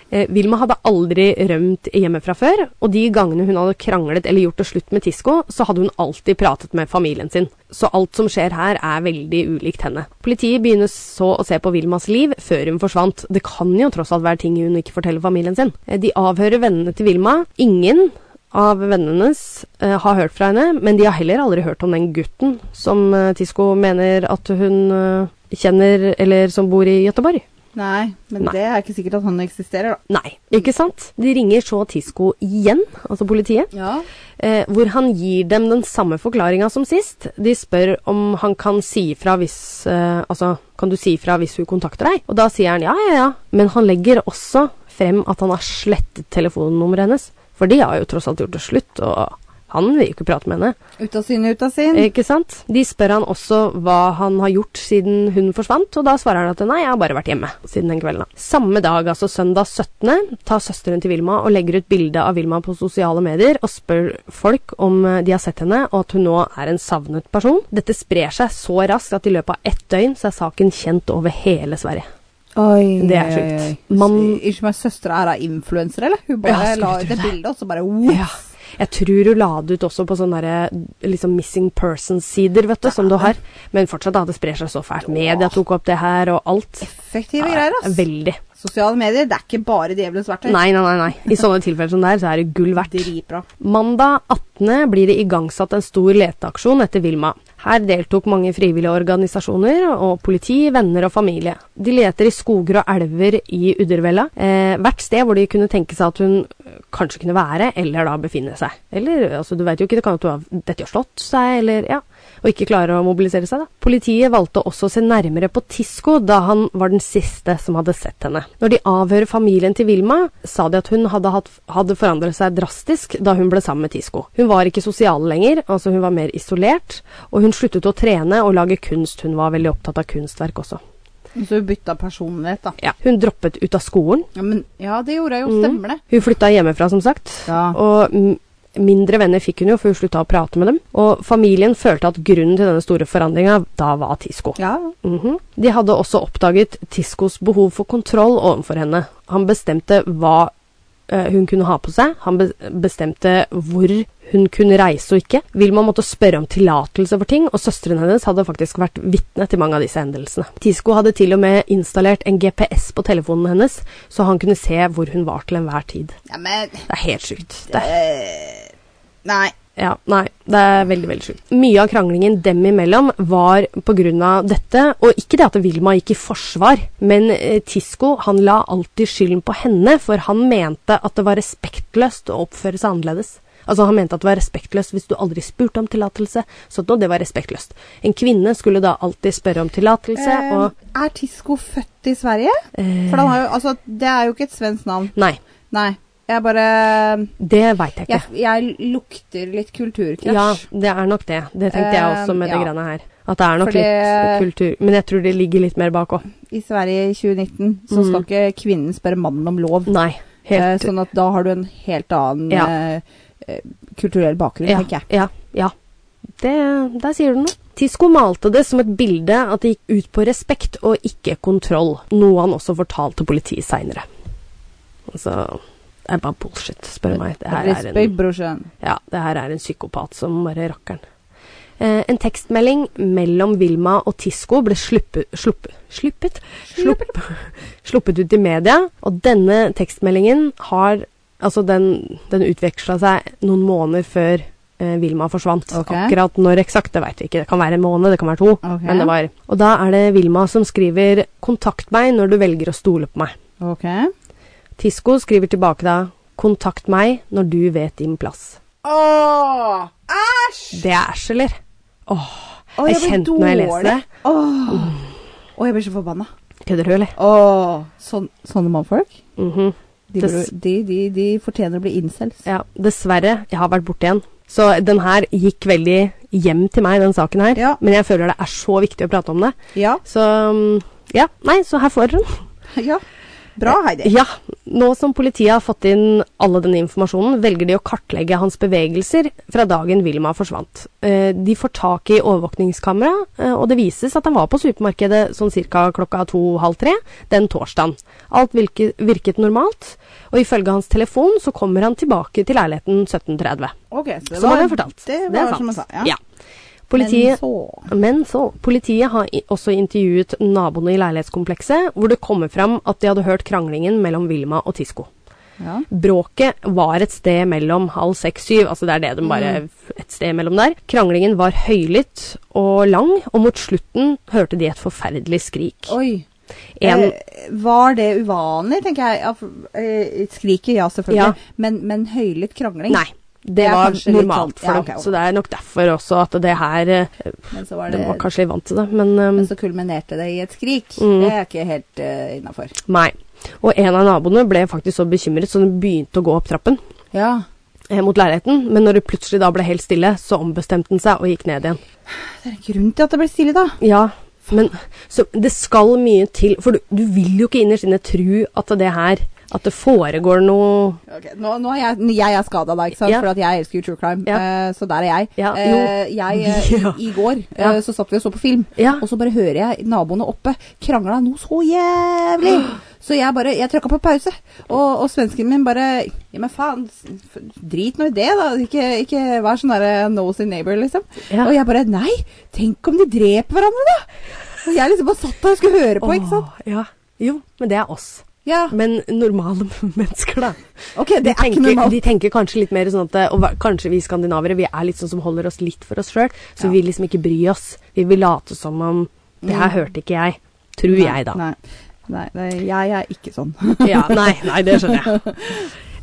Speaker 1: Eh, Vilma hadde aldri rømt hjemmefra før, og de gangene hun hadde kranglet eller gjort det slutt med Tisco, så hadde hun alltid pratet med familien sin. Så alt som skjer her er veldig ulikt henne. Politiet begynner så å se på Vilmas liv før hun forsvant. Det kan jo tross alt være ting hun ikke forteller familien sin. Eh, De avhører vennene til Vilma. Ingen av vennene hennes eh, har hørt fra henne, men de har heller aldri hørt om den gutten som eh, Tisco mener at hun eh, kjenner, eller som bor i Gøteborg.
Speaker 2: Nei, men
Speaker 1: Nei.
Speaker 2: det er ikke sikkert at han eksisterer, da.
Speaker 1: Nei, ikke sant? De ringer så Tisco igjen, altså politiet,
Speaker 2: Ja.
Speaker 1: eh, hvor han gir dem den samme forklaringa som sist. De spør om han kan si ifra hvis eh, Altså, kan du si ifra hvis hun kontakter deg? Og da sier han ja, ja, ja. Men han legger også frem at han har slettet telefonnummeret hennes. For de har jo tross alt gjort det slutt, og han vil jo ikke prate med henne.
Speaker 2: Ut av syne, ut av sinn.
Speaker 1: Eh, Ikke sant? De spør han også hva han har gjort siden hun forsvant, og da svarer han at nei, jeg har bare vært hjemme siden den kvelden. da. Samme dag, altså søndag 17., tar søsteren til Vilma og legger ut bilde av Vilma på sosiale medier og spør folk om eh, de har sett henne, og at hun nå er en savnet person. Dette sprer seg så raskt at i løpet av ett døgn så er saken kjent over hele Sverige.
Speaker 2: Oi,
Speaker 1: Det er sjukt. Man-
Speaker 2: Ikke meg, søstera er da influenser, eller? Hun bare
Speaker 1: Ja, skulle
Speaker 2: la
Speaker 1: tro
Speaker 2: ut det
Speaker 1: det.
Speaker 2: bildet, og så bare whoops.
Speaker 1: Jeg tror hun la det ut også på sånne der, liksom missing persons-sider, vet du, som du har. Men fortsatt, da, det sprer seg så fælt. Media tok opp det her, og alt.
Speaker 2: Effektive greier, ass.
Speaker 1: Eh, Veldig.
Speaker 2: Sosiale medier, det er ikke bare djevelens verktøy.
Speaker 1: Nei, nei, nei, nei. I sånne tilfeller som det er, så er det gull verdt.
Speaker 2: Dritbra.
Speaker 1: Mandag 18. blir det igangsatt en stor leteaksjon etter Vilma. Her deltok mange frivillige organisasjoner og politi, venner og familie. De leter i skoger og elver i Uddervella, eh, hvert sted hvor de kunne tenke seg at hun eh, kanskje kunne være, eller da befinne seg. Eller, altså, du vet jo ikke, det kan jo at hun har- dette har slått seg, eller ja, og ikke klarer å mobilisere seg. Da. Politiet valgte også å se nærmere på Tisco, da han var den siste som hadde sett henne. Når de avhører familien til Vilma, sa de at hun hadde, hatt, hadde forandret seg drastisk da hun ble sammen med Tisco. Hun var ikke sosial lenger, altså hun var mer isolert, og hun sluttet å trene og lage kunst. Hun var veldig opptatt av kunstverk også.
Speaker 2: Så hun bytta personlighet, da.
Speaker 1: Ja. Hun droppet ut av skolen.
Speaker 2: Ja, men, ja det gjorde jeg jo. Stemmer det.
Speaker 1: Hun flytta hjemmefra, som sagt.
Speaker 2: Ja.
Speaker 1: Mm. Og m- mindre venner fikk hun jo, for hun slutta å prate med dem. Og familien følte at grunnen til denne store forandringa da var Tisco.
Speaker 2: Ja.
Speaker 1: Mhm. De hadde også oppdaget Tiscos behov for kontroll overfor henne. Han bestemte hva eh, hun kunne ha på seg, han be bestemte hvor hun kunne reise og ikke. Vilma måtte spørre om tillatelse for ting, og søsteren hennes hadde faktisk vært vitne til mange av disse hendelsene. Tisco hadde til og med installert en GPS på telefonen hennes, så han kunne se hvor hun var til enhver tid.
Speaker 2: ja men
Speaker 1: Det er helt sjukt. Det er
Speaker 2: eh, Nei.
Speaker 1: ja, nei, det er veldig, veldig sjukt. Mye av kranglingen dem imellom var pga. dette, og ikke det at Vilma gikk i forsvar, men eh, Tisco han la alltid skylden på henne, for han mente at det var respektløst å oppføre seg annerledes. Altså, han mente at det var respektløst hvis du aldri spurte om tillatelse. Så at nå, det var respektløst. En kvinne skulle da alltid spørre om tillatelse,
Speaker 2: Eh,
Speaker 1: og
Speaker 2: er Tisco født i Sverige?
Speaker 1: eh,
Speaker 2: For han har jo, altså, det er jo ikke et svensk navn.
Speaker 1: Nei,
Speaker 2: Nei. Jeg bare
Speaker 1: det veit jeg ikke.
Speaker 2: jeg, jeg lukter litt kulturkrasj.
Speaker 1: Ja, det er nok det. Det tenkte jeg også med
Speaker 2: Eh,
Speaker 1: det
Speaker 2: ja.
Speaker 1: greiene her. At det er nok
Speaker 2: Fordi-
Speaker 1: litt kultur Men jeg tror det ligger litt mer bak òg.
Speaker 2: I Sverige i 2019 så skal ikke kvinnen spørre mannen om lov.
Speaker 1: Nei.
Speaker 2: Eh,
Speaker 1: Mm. Helt
Speaker 2: sånn at da har du en helt annen
Speaker 1: Ja.
Speaker 2: eh, eh, kulturell bakgrunn,
Speaker 1: ja,
Speaker 2: tenker jeg.
Speaker 1: ja, ja. Det, der sier du noe. Tisco malte det som et bilde at det gikk ut på respekt og ikke kontroll, noe han også fortalte politiet seinere. Altså Det er bare bullshit, spør du meg. Det her er en
Speaker 2: Respekt, brorsan.
Speaker 1: Ja, det her er en psykopat som bare rakkeren. Eh, en tekstmelding mellom Vilma og Tisco ble sluppe, sluppe, sluppet, slupp, sluppet ut i media, og denne tekstmeldingen har Altså, den, den utveksla seg noen måneder før eh, Vilma forsvant.
Speaker 2: Ok.
Speaker 1: Akkurat når eksakt, det veit vi ikke. Det kan være en måned, det kan være to.
Speaker 2: Ok.
Speaker 1: Men det var Og da er det Vilma som skriver 'Kontakt meg når du velger å stole på meg'.
Speaker 2: Ok.
Speaker 1: Tisco skriver tilbake da 'Kontakt meg når du vet din plass'.
Speaker 2: Åh! Æsj!
Speaker 1: Det er æsj, Åh,
Speaker 2: Åh,
Speaker 1: jeg kjente når jeg leste det.
Speaker 2: Åh. Åh, jeg blir så forbanna.
Speaker 1: Kødder du, eller?
Speaker 2: Åh, sånn, sånne mannfolk?
Speaker 1: Mhm.
Speaker 2: De,
Speaker 1: Det
Speaker 2: burde-
Speaker 1: s-
Speaker 2: de, de, de fortjener å bli incels.
Speaker 1: Ja, dessverre. Jeg har vært borte igjen. Så den her gikk veldig hjem til meg, den saken her.
Speaker 2: Ja.
Speaker 1: Men jeg føler det er så viktig å prate om det.
Speaker 2: Ja.
Speaker 1: Så mm, ja, nei, så her får dere den.
Speaker 2: ja. Bra, Heidi.
Speaker 1: Ja, nå som politiet har fått inn alle denne informasjonen, velger de å kartlegge hans bevegelser fra dagen Vilma forsvant. Eh, De får tak i overvåkningskamera, eh, og det vises at han var på supermarkedet sånn ca. klokka to-halv tre den torsdagen. Alt virke, virket normalt, og ifølge hans telefon så kommer han tilbake til leiligheten 17.30.
Speaker 2: Ok, så det
Speaker 1: Som
Speaker 2: var,
Speaker 1: han har fortalt.
Speaker 2: Det var,
Speaker 1: er
Speaker 2: som jeg
Speaker 1: sant.
Speaker 2: sa.
Speaker 1: Ja. Politiet
Speaker 2: Men så
Speaker 1: men så, politiet har i- også intervjuet naboene i leilighetskomplekset, hvor det kommer fram at de hadde hørt kranglingen mellom Vilma og Tisco.
Speaker 2: ja.
Speaker 1: Bråket var et sted mellom halv seks-syv, altså det er det de
Speaker 2: Mm.
Speaker 1: bare et sted mellom der. Kranglingen var høylytt og lang, og mot slutten hørte de et forferdelig skrik.
Speaker 2: Oi.
Speaker 1: En,
Speaker 2: Eh, var det uvanlig, tenker jeg. Ja, for- eh, skriket, ja, selvfølgelig.
Speaker 1: Ja.
Speaker 2: Men, men høylytt krangling.
Speaker 1: nei,
Speaker 2: Det
Speaker 1: det
Speaker 2: er
Speaker 1: var
Speaker 2: kanskje litt
Speaker 1: normalt
Speaker 2: sånn- ja,
Speaker 1: for
Speaker 2: ok,
Speaker 1: dem,
Speaker 2: ok.
Speaker 1: så det er nok derfor også at det her eh,
Speaker 2: Men så var
Speaker 1: De
Speaker 2: det,
Speaker 1: var kanskje litt vant til det, men ehm,
Speaker 2: men så kulminerte det i et skrik.
Speaker 1: Mm.
Speaker 2: Det er ikke helt uh, innafor.
Speaker 1: nei. Og en av naboene ble faktisk så bekymret, så den begynte å gå opp trappen.
Speaker 2: Ja.
Speaker 1: eh, mot leiligheten, men når det plutselig da ble helt stille, så ombestemte han seg og gikk ned igjen.
Speaker 2: Det er en grunn til at det ble stille, da.
Speaker 1: Ja, men så det skal mye til, for du, du vil jo ikke innerst inne tro at det her at det foregår noe
Speaker 2: Ok, Nå, nå er jeg, jeg er skada, da, ikke sant?
Speaker 1: Ja.
Speaker 2: for at jeg elsker jo true crime.
Speaker 1: Ja.
Speaker 2: eh, så der er jeg.
Speaker 1: Ja,
Speaker 2: Eh,
Speaker 1: jo.
Speaker 2: jeg eh,
Speaker 1: Ja.
Speaker 2: I i går
Speaker 1: Ja.
Speaker 2: eh, så satt vi og så på film,
Speaker 1: Ja.
Speaker 2: og så bare hører jeg naboene oppe krangla noe så jævlig. Så jeg bare Jeg trykka på pause, og, og svensken min bare Ja, men faen, s- f- drit nå i det, da. Ikke, ikke vær sånn derre nosy neighbor, liksom.
Speaker 1: Ja.
Speaker 2: Og jeg bare Nei, tenk om de dreper hverandre, da! Og jeg liksom bare satt der og skulle høre på, ikke sant.
Speaker 1: Åh, ja. Jo, men det er oss.
Speaker 2: Ja.
Speaker 1: Men normale mennesker, da.
Speaker 2: OK, det
Speaker 1: De
Speaker 2: er ikke
Speaker 1: tenker,
Speaker 2: normalt.
Speaker 1: de tenker kanskje litt mer sånn at eh, og hva- Kanskje vi skandinavere vi er litt sånn som holder oss litt for oss sjøl, så
Speaker 2: Ja.
Speaker 1: vi vil liksom ikke bry oss. Vi vil late som om Det her hørte ikke jeg. Tror
Speaker 2: Mm. Nei,
Speaker 1: jeg, da.
Speaker 2: Nei, nei, nei jeg er ikke sånn.
Speaker 1: Ja, nei, nei, det skjønner jeg.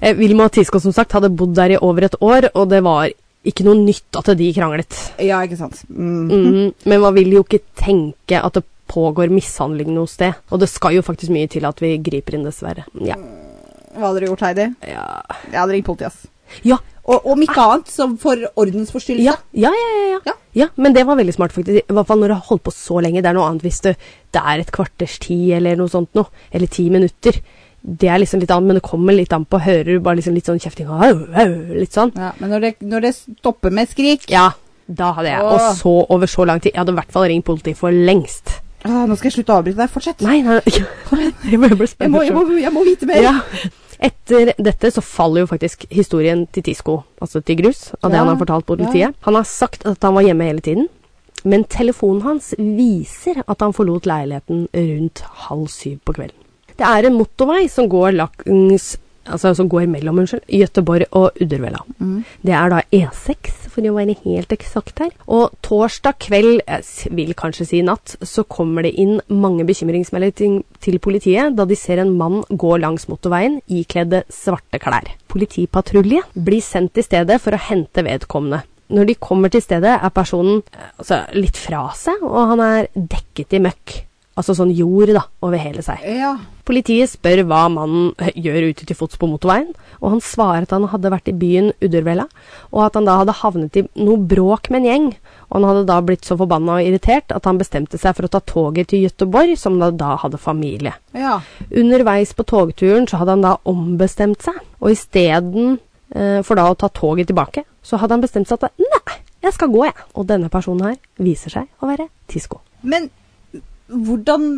Speaker 1: Eh, Vilma og Tisco som sagt, hadde bodd der i over et år, og det var ikke noe nytt at de kranglet.
Speaker 2: ja, ikke sant. Mm.
Speaker 1: Mhm. Men man vil jo ikke tenke at det pågår mishandling noe sted. Og det skal jo faktisk mye til at vi griper inn, dessverre. Ja.
Speaker 2: Mm, Hva hadde du gjort, Heidi?
Speaker 1: Ja,
Speaker 2: Jeg hadde ringt politiet, ass.
Speaker 1: ja,
Speaker 2: Og om ikke annet, så for ordensforstyrrelse.
Speaker 1: Ah. ja, ja, ja, ja, ja.
Speaker 2: Ja.
Speaker 1: ja. Men det var veldig smart, faktisk. I hvert fall når du har holdt på så lenge. Det er noe annet hvis du, det er et kvarters tid eller noe sånt noe. Eller ti minutter. Det er liksom litt annet, men det kommer litt an på. Hører du bare liksom litt sånn kjefting, au, au, litt sånn.
Speaker 2: Ja, men når det, når det stopper med skrik
Speaker 1: Ja, da hadde jeg.
Speaker 2: Åh.
Speaker 1: Og så over så lang tid. Jeg hadde i hvert fall ringt politiet for lengst.
Speaker 2: ah, Nå skal jeg slutte å avbryte deg. Fortsett.
Speaker 1: Nei, nei, jeg må, jeg ble
Speaker 2: jeg, må,
Speaker 1: spennende
Speaker 2: jeg, må,
Speaker 1: selv.
Speaker 2: jeg må vite mer.
Speaker 1: Ja. Etter dette så faller jo faktisk historien til Tisco, altså til Grus, av det
Speaker 2: Ja,
Speaker 1: han har fortalt politiet. Han har sagt at han var hjemme hele tiden, men telefonen hans viser at han forlot leiligheten rundt halv syv på kvelden. Det er en motorvei som går langs Altså som går mellom unnskyld, Gøteborg og Uddervella. Det er da E6 for å være helt eksakt her. Og torsdag kveld, jeg s- vil kanskje si natt, så kommer det inn mange bekymringsmeldinger til- til politiet da de ser en mann gå langs motorveien ikledde svarte klær. Politipatrulje blir sendt til stedet for å hente vedkommende. Når de kommer til stedet, er personen eh, altså, litt fra seg, og han er dekket i møkk. Altså sånn jord, da, over hele seg.
Speaker 2: Ja.
Speaker 1: Politiet spør hva mannen eh, gjør ute til fots på motorveien, og han svarer at han hadde vært i byen Uddervella, og at han da hadde havnet i noe bråk med en gjeng, og han hadde da blitt så forbanna og irritert at han bestemte seg for å ta toget til Gøteborg, som da, da hadde familie.
Speaker 2: Ja.
Speaker 1: Underveis på togturen så hadde han da ombestemt seg, og isteden eh, for da å ta toget tilbake, så hadde han bestemt seg at nei, jeg skal gå, jeg. Og denne personen her viser seg å være Tisco.
Speaker 2: Men hvordan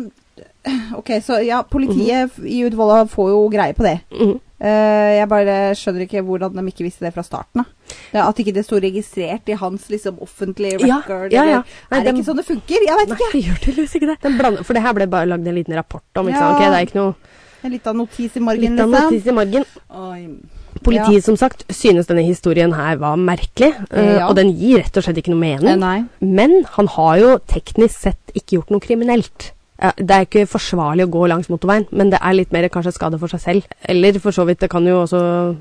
Speaker 2: Ok, så ja, politiet i Uddevalla får jo greie på det.
Speaker 1: Mhm.
Speaker 2: Eh, jeg bare skjønner ikke hvordan de ikke visste det fra starten. Da. Det, at ikke det sto registrert i hans liksom, offentlige
Speaker 1: Ja,
Speaker 2: record.
Speaker 1: ja, ja.
Speaker 2: eller-
Speaker 1: Nei,
Speaker 2: er det
Speaker 1: dem-
Speaker 2: ikke sånn det funker? Jeg vet
Speaker 1: Nei,
Speaker 2: ikke.
Speaker 1: det gjør tydeligvis ikke det. Den blander, for det her ble bare lagd en liten rapport om. ikke
Speaker 2: Ja.
Speaker 1: sant? Ok, det er ikke noe
Speaker 2: En liten notis i margen.
Speaker 1: litt av
Speaker 2: liksom.
Speaker 1: notis Mm. i margen.
Speaker 2: Oi.
Speaker 1: Politiet som sagt, synes denne historien her var merkelig, eh,
Speaker 2: Ja.
Speaker 1: og den gir rett og slett ikke noe
Speaker 2: Eh,
Speaker 1: mening.
Speaker 2: Nei.
Speaker 1: Men han har jo teknisk sett ikke gjort noe kriminelt. Eh, Det er ikke forsvarlig å gå langs motorveien, men det er litt mer kanskje skade for seg selv. Eller for så vidt, det kan jo også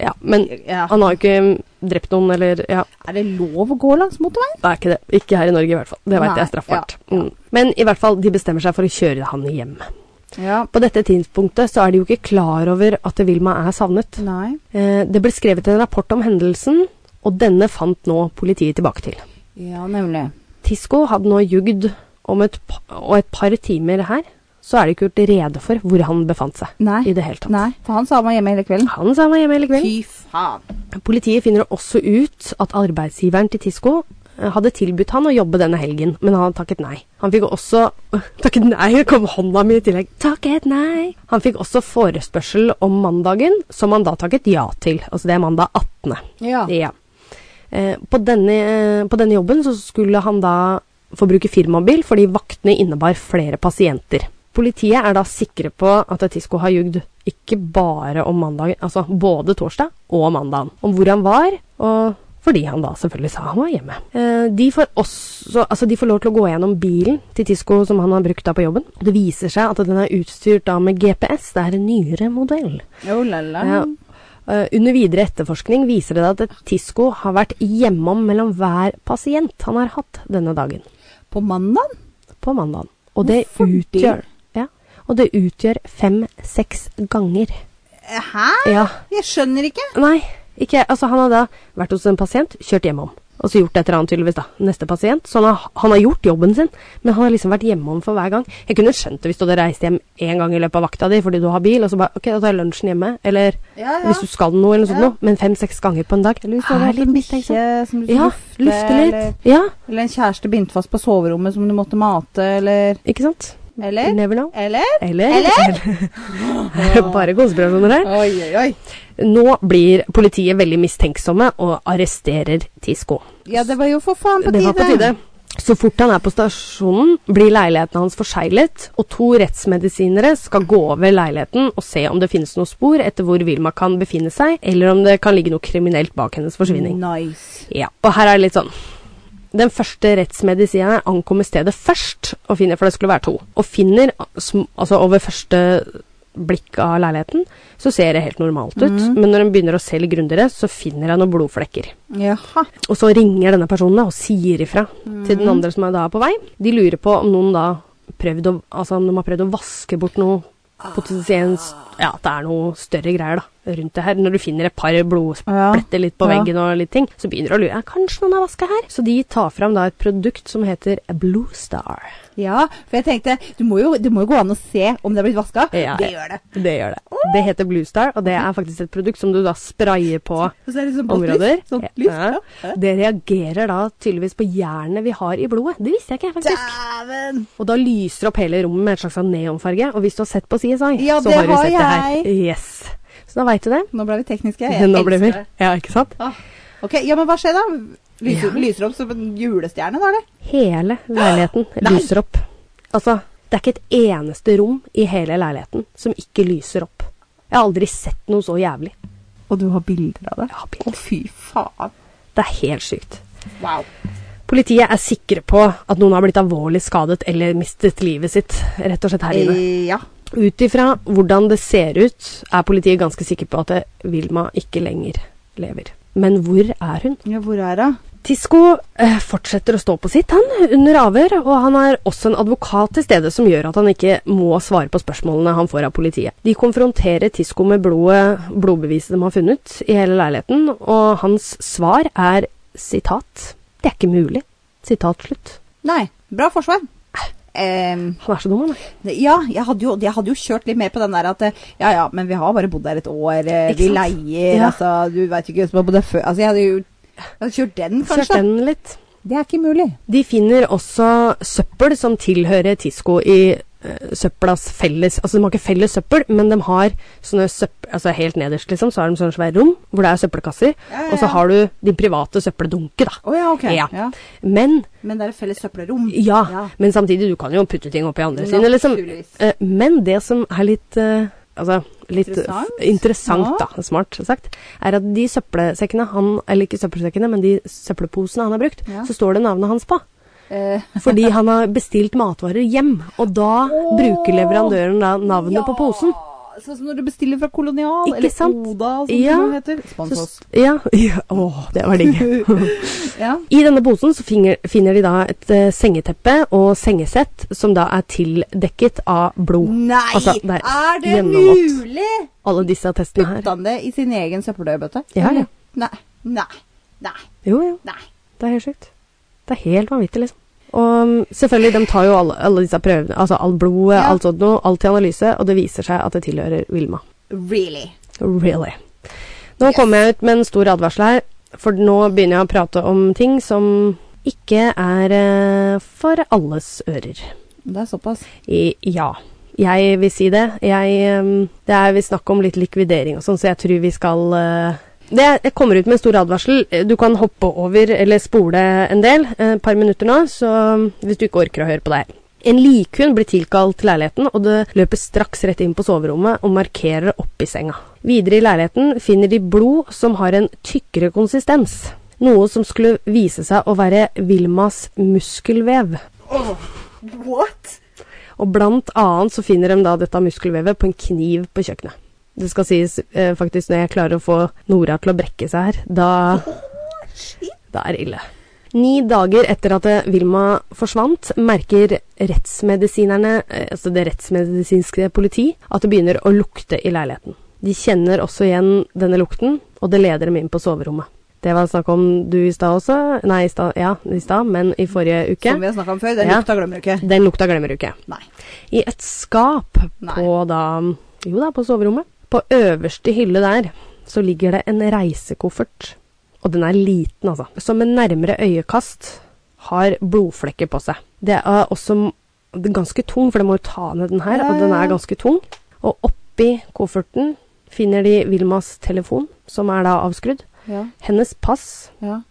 Speaker 1: Ja, men
Speaker 2: Ja.
Speaker 1: han har jo ikke drept noen, eller Ja.
Speaker 2: Er det lov å gå langs motorveien?
Speaker 1: Det er ikke det. Ikke her i Norge, i hvert fall. Det
Speaker 2: Nei,
Speaker 1: veit jeg er straffbart. Mm. Men i hvert fall, de bestemmer seg for å kjøre han hjem.
Speaker 2: Ja.
Speaker 1: På dette tidspunktet så er de jo ikke klar over at Vilma er savnet.
Speaker 2: Nei.
Speaker 1: Eh, Det ble skrevet en rapport om hendelsen, og denne fant nå politiet tilbake til.
Speaker 2: Ja, nemlig.
Speaker 1: Tisco hadde nå jugd om et, pa- og et par timer her, så er det ikke gjort rede for hvor han befant seg
Speaker 2: Nei.
Speaker 1: i det hele tatt.
Speaker 2: Nei. For han sa han var hjemme hele kvelden.
Speaker 1: Han sa han var hjemme hele kvelden.
Speaker 2: Fy faen.
Speaker 1: Politiet finner også ut at arbeidsgiveren til Tisco eh, hadde tilbudt han å jobbe denne helgen, men han takket nei. Han fikk også Takket nei, det kom hånda mi i tillegg. Takket nei. Han fikk også forespørsel om mandagen, som han da takket ja til. Altså det er mandag 18.
Speaker 2: Ja.
Speaker 1: Ja. Eh, På denne, eh, på denne jobben så skulle han da få bruke firmabil fordi vaktene innebar flere pasienter. Politiet er da sikre på at Tisco har jugd ikke bare om mandagen, altså både torsdag og mandagen, om hvor han var, og fordi han da selvfølgelig sa han var hjemme. Eh, De får, også, altså de får lov til å gå gjennom bilen til Tisco som han har brukt da på jobben. Det viser seg at den er utstyrt da med GPS, det er en nyere modell.
Speaker 2: Oh, la, la.
Speaker 1: Ja. Eh, under videre etterforskning viser det at Tisco har vært hjemom mellom hver pasient han har hatt denne dagen,
Speaker 2: På mandag?
Speaker 1: på mandagen. Og det
Speaker 2: Hvorfor det?
Speaker 1: utgjør ja, Og det utgjør fem-seks ganger.
Speaker 2: Eh, Hæ?
Speaker 1: Ja.
Speaker 2: Jeg skjønner ikke.
Speaker 1: Nei, ikke Altså, han har da vært hos en pasient, kjørt hjemom. Og så gjort et eller annet, tydeligvis, da. Neste pasient. Så han har, han har gjort jobben sin, men han har liksom vært hjemom for hver gang. Jeg kunne skjønt det hvis du hadde reist hjem én gang i løpet av vakta di fordi du har bil, og så bare OK, da tar jeg lunsjen hjemme, eller
Speaker 2: Ja, ja.
Speaker 1: hvis du skal noe, eller noe sånt
Speaker 2: Ja.
Speaker 1: noe. Men fem-seks ganger på en dag
Speaker 2: Eller hvis du hadde hatt
Speaker 1: litt
Speaker 2: en
Speaker 1: mistenksom.
Speaker 2: bikkje som du
Speaker 1: Ja,
Speaker 2: skulle
Speaker 1: lufte
Speaker 2: Eller,
Speaker 1: litt. Ja,
Speaker 2: eller en kjæreste bindt fast på soverommet som du måtte mate, eller
Speaker 1: ikke sant? You
Speaker 2: Eller?
Speaker 1: Never know.
Speaker 2: Eller?
Speaker 1: Eller,
Speaker 2: Eller?
Speaker 1: Bare konspirasjoner her.
Speaker 2: Oi, oi, oi.
Speaker 1: Nå blir politiet veldig mistenksomme og arresterer Tisco.
Speaker 2: Ja, det var jo for faen på
Speaker 1: Det var på tide. Så fort han er på stasjonen, blir leiligheten hans forseglet, og to rettsmedisinere skal gå over leiligheten og se om det finnes noen spor etter hvor Vilma kan befinne seg, eller om det kan ligge noe kriminelt bak hennes forsvinning.
Speaker 2: Nice.
Speaker 1: Ja, og her er det litt sånn Den første rettsmedisineren ankommer stedet først og finner, for det skulle være to, og finner sm- altså over første blikk av leiligheten, så ser det helt normalt ut, men når hun begynner å se litt grundigere, så finner hun noen blodflekker.
Speaker 2: Jaha.
Speaker 1: Og så ringer denne personen da og sier ifra til
Speaker 2: Mhm.
Speaker 1: den andre som er da på vei. De lurer på om noen da prøvd å, altså om de har prøvd å vaske bort noe
Speaker 2: Ah.
Speaker 1: potensielt Ja, at det er noe større greier da rundt det her. Når du finner et par blodspletter litt på
Speaker 2: Ja.
Speaker 1: veggen og litt ting, så begynner du å lure. Ja, kanskje noen har vaska her? Så de tar fram da et produkt som heter Blue Star.
Speaker 2: Ja, for jeg tenkte du må jo, Det må jo gå an å se om det er blitt vaska.
Speaker 1: Ja,
Speaker 2: Det
Speaker 1: ja.
Speaker 2: gjør det.
Speaker 1: Det gjør det. Det heter Blue Star, og det er faktisk et produkt som du da sprayer på
Speaker 2: Og så er det sånn blått
Speaker 1: områder.
Speaker 2: lys. Sånt lys.
Speaker 1: Ja. Det reagerer da tydeligvis på jernet vi har i blodet. Det visste jeg ikke, faktisk.
Speaker 2: Dæven!
Speaker 1: Og da lyser opp hele rommet med et slags sånn neonfarge. Og hvis du har sett på CSI,
Speaker 2: Ja,
Speaker 1: så
Speaker 2: det
Speaker 1: har du
Speaker 2: har
Speaker 1: sett
Speaker 2: jeg.
Speaker 1: det her. Yes. Så da veit du det.
Speaker 2: Nå ble vi tekniske. Jeg
Speaker 1: Nå ble vi
Speaker 2: elsker det.
Speaker 1: Ja, ikke sant?
Speaker 2: Ah. Ok, ja, men hva skjer da? Lyser, lyser opp som en julestjerne, da, eller?
Speaker 1: Hele leiligheten
Speaker 2: Nei!
Speaker 1: lyser opp. Altså, det er ikke et eneste rom i hele leiligheten som ikke lyser opp. Jeg har aldri sett noe så jævlig.
Speaker 2: Og du har bilder av det?
Speaker 1: Jeg har
Speaker 2: Å,
Speaker 1: bilder.
Speaker 2: fy faen.
Speaker 1: Det er helt sykt.
Speaker 2: Wow.
Speaker 1: Politiet er sikre på at noen har blitt alvorlig skadet eller mistet livet sitt rett og slett her inne.
Speaker 2: Eh, ja.
Speaker 1: Ut ifra hvordan det ser ut, er politiet ganske sikre på at eh, Vilma ikke lenger lever. Men hvor er hun?
Speaker 2: ja, hvor er hun?
Speaker 1: Tisco eh, fortsetter å stå på sitt han, under avhør, og han er også en advokat til stede som gjør at han ikke må svare på spørsmålene han får av politiet. De konfronterer Tisco med blodet, blodbeviset de har funnet i hele leiligheten, og hans svar er sitat 'Det er ikke mulig'. Sitat slutt.
Speaker 2: Nei, bra forsvar. Ehm,
Speaker 1: Han er så dum, han. er.
Speaker 2: ja, jeg hadde, jo, jeg hadde jo kjørt litt mer på den der at eh, ja ja, men vi har bare bodd der et år, eh,
Speaker 1: Ikke
Speaker 2: vi
Speaker 1: sant?
Speaker 2: leier,
Speaker 1: Ja.
Speaker 2: altså du veit jo ikke hvem som har bodd der før. Altså jeg hadde jo jeg hadde kjørt den,
Speaker 1: Kjørt
Speaker 2: kanskje.
Speaker 1: den litt.
Speaker 2: Det er ikke mulig.
Speaker 1: De finner også søppel som tilhører Tisco i eh, søppelas felles Altså, de har ikke felles søppel, men de har sånne søppel... Altså, helt nederst, liksom, så har de sånne svære rom hvor det er søppelkasser.
Speaker 2: Ja, ja,
Speaker 1: Og så
Speaker 2: ja.
Speaker 1: har du de private søppeldunker, da.
Speaker 2: Å ja, ok.
Speaker 1: Ja.
Speaker 2: Ja.
Speaker 1: Men
Speaker 2: Men det er et felles søppelrom.
Speaker 1: ja,
Speaker 2: Ja.
Speaker 1: men samtidig, du kan jo putte ting oppi andre sine, liksom.
Speaker 2: Naturligvis.
Speaker 1: Eh, Men det som er litt eh, Altså, litt eh,
Speaker 2: Interessant.
Speaker 1: f- interessant,
Speaker 2: Ja.
Speaker 1: da, smart sagt, er at de søppelsekkene han Eller ikke søppelsekkene, men de søppelposene han har brukt,
Speaker 2: Ja.
Speaker 1: så står det navnet hans på.
Speaker 2: Eh,
Speaker 1: Fordi han har bestilt matvarer hjem, og da bruker leverandøren da navnet på posen.
Speaker 2: Sånn som når du bestiller fra Kolonial,
Speaker 1: Ikke
Speaker 2: eller
Speaker 1: sant?
Speaker 2: Oda, som
Speaker 1: Ja.
Speaker 2: det heter. Spons
Speaker 1: Så,
Speaker 2: oss.
Speaker 1: ja, ja, åh, det var digg.
Speaker 2: ja.
Speaker 1: I denne posen så finger, finner de da et eh, sengeteppe og sengesett som da er tildekket av blod.
Speaker 2: Nei,
Speaker 1: Altså, det er
Speaker 2: er det
Speaker 1: gjennomvått.
Speaker 2: mulig?
Speaker 1: Alle disse attestene her.
Speaker 2: Putta han det i sin egen søppeldøybøtte?
Speaker 1: Ja, ja.
Speaker 2: Nei, nei, nei,
Speaker 1: Jo, jo,
Speaker 2: nei.
Speaker 1: det er helt sjukt. Det er helt vanvittig, liksom. Og mm, selvfølgelig, de tar jo alle, alle disse prøvene, altså all blodet,
Speaker 2: Ja.
Speaker 1: alt sånt noe, alt til analyse, og det viser seg at det tilhører Vilma.
Speaker 2: Really?
Speaker 1: Really. Nå
Speaker 2: Yes.
Speaker 1: kommer jeg ut med en stor advarsel her, for nå begynner jeg å prate om ting som ikke er eh, for alles ører.
Speaker 2: Det er såpass.
Speaker 1: I, ja. Jeg vil si det. Jeg, eh, det er vi snakker om litt likvidering og sånn, så jeg tror vi skal eh, det, Jeg kommer ut med en stor advarsel. Du kan hoppe over eller spole en del, eh, et par minutter nå, så hvis du ikke orker å høre på det her. En likhund blir tilkalt til leiligheten, og det løper straks rett inn på soverommet og markerer oppi senga. Videre i leiligheten finner de blod som har en tykkere konsistens. Noe som skulle vise seg å være Vilmas muskelvev.
Speaker 2: What?
Speaker 1: Og blant annet så finner de da dette muskelvevet på en kniv på kjøkkenet. Det skal sies eh, faktisk når jeg klarer å få Nora til å brekke seg her, da, da er det ille. Ni dager etter at eh, Vilma forsvant, merker rettsmedisinerne, eh, altså det rettsmedisinske politi, at det begynner å lukte i leiligheten. De kjenner også igjen denne lukten, og det leder dem inn på soverommet. Det var snakk om du i stad også. Nei, i stad, ja, i stad, men i forrige uke.
Speaker 2: Som vi har snakka om før, den
Speaker 1: Ja.
Speaker 2: lukta glemmer du ikke.
Speaker 1: Den lukta glemmer du ikke.
Speaker 2: Nei.
Speaker 1: I et skap
Speaker 2: Nei.
Speaker 1: på da Jo da, på soverommet. På øverste hylle der så ligger det en reisekoffert. Og den er liten, altså. Som med nærmere øyekast har blodflekker på seg. Det er også m- den er ganske tung, for det må jo ta ned den her,
Speaker 2: Ja,
Speaker 1: og den
Speaker 2: ja, ja.
Speaker 1: er ganske tung. Og oppi kofferten finner de Vilmas telefon, som er da avskrudd.
Speaker 2: Ja,
Speaker 1: Hennes pass,
Speaker 2: ja.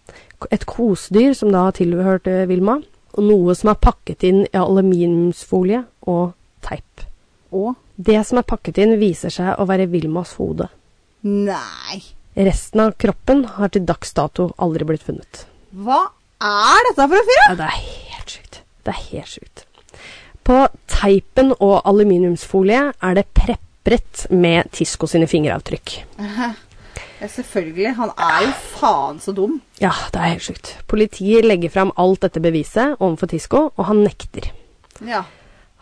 Speaker 1: et kosedyr som da tilhørte Vilma, og noe som er pakket inn i aluminiumsfolie og teip.
Speaker 2: Og
Speaker 1: Det som er pakket inn, viser seg å være Vilmas hode.
Speaker 2: Nei.
Speaker 1: Resten av kroppen har til dags dato aldri blitt funnet.
Speaker 2: Hva er dette for en fyr?
Speaker 1: Ja, det er helt sjukt. Det er helt sjukt. På teipen og aluminiumsfolie er det prepret med Tisco sine fingeravtrykk.
Speaker 2: Ja, selvfølgelig. Han er jo faen så dum.
Speaker 1: Ja, det er helt sjukt. Politiet legger fram alt dette beviset overfor Tisco, og han nekter.
Speaker 2: Ja.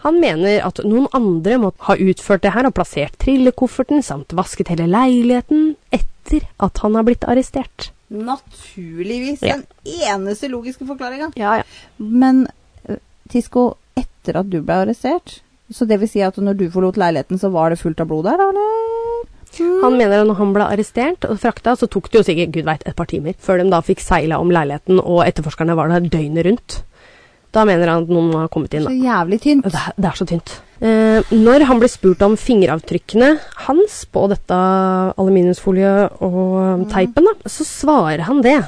Speaker 1: Han mener at noen andre må ha utført det her og plassert trillekofferten samt vasket hele leiligheten etter at han har blitt arrestert.
Speaker 2: Naturligvis.
Speaker 1: Ja.
Speaker 2: Den eneste logiske forklaringa.
Speaker 1: Ja, ja.
Speaker 2: Men eh, Tisco, etter at du ble arrestert Så det vil si at når du forlot leiligheten, så var det fullt av blod der, da, eller?
Speaker 1: Han mener at når han ble arrestert og frakta, så tok det jo sikkert gud veit et par timer før de da fikk seila om leiligheten og etterforskerne var der døgnet rundt. Da mener han at noen har kommet inn.
Speaker 2: Så
Speaker 1: da.
Speaker 2: jævlig tynt.
Speaker 1: Det er, det er så tynt. Eh, når han ble spurt om fingeravtrykkene hans på dette aluminiumsfolie og um, teipen, da, så svarer han det.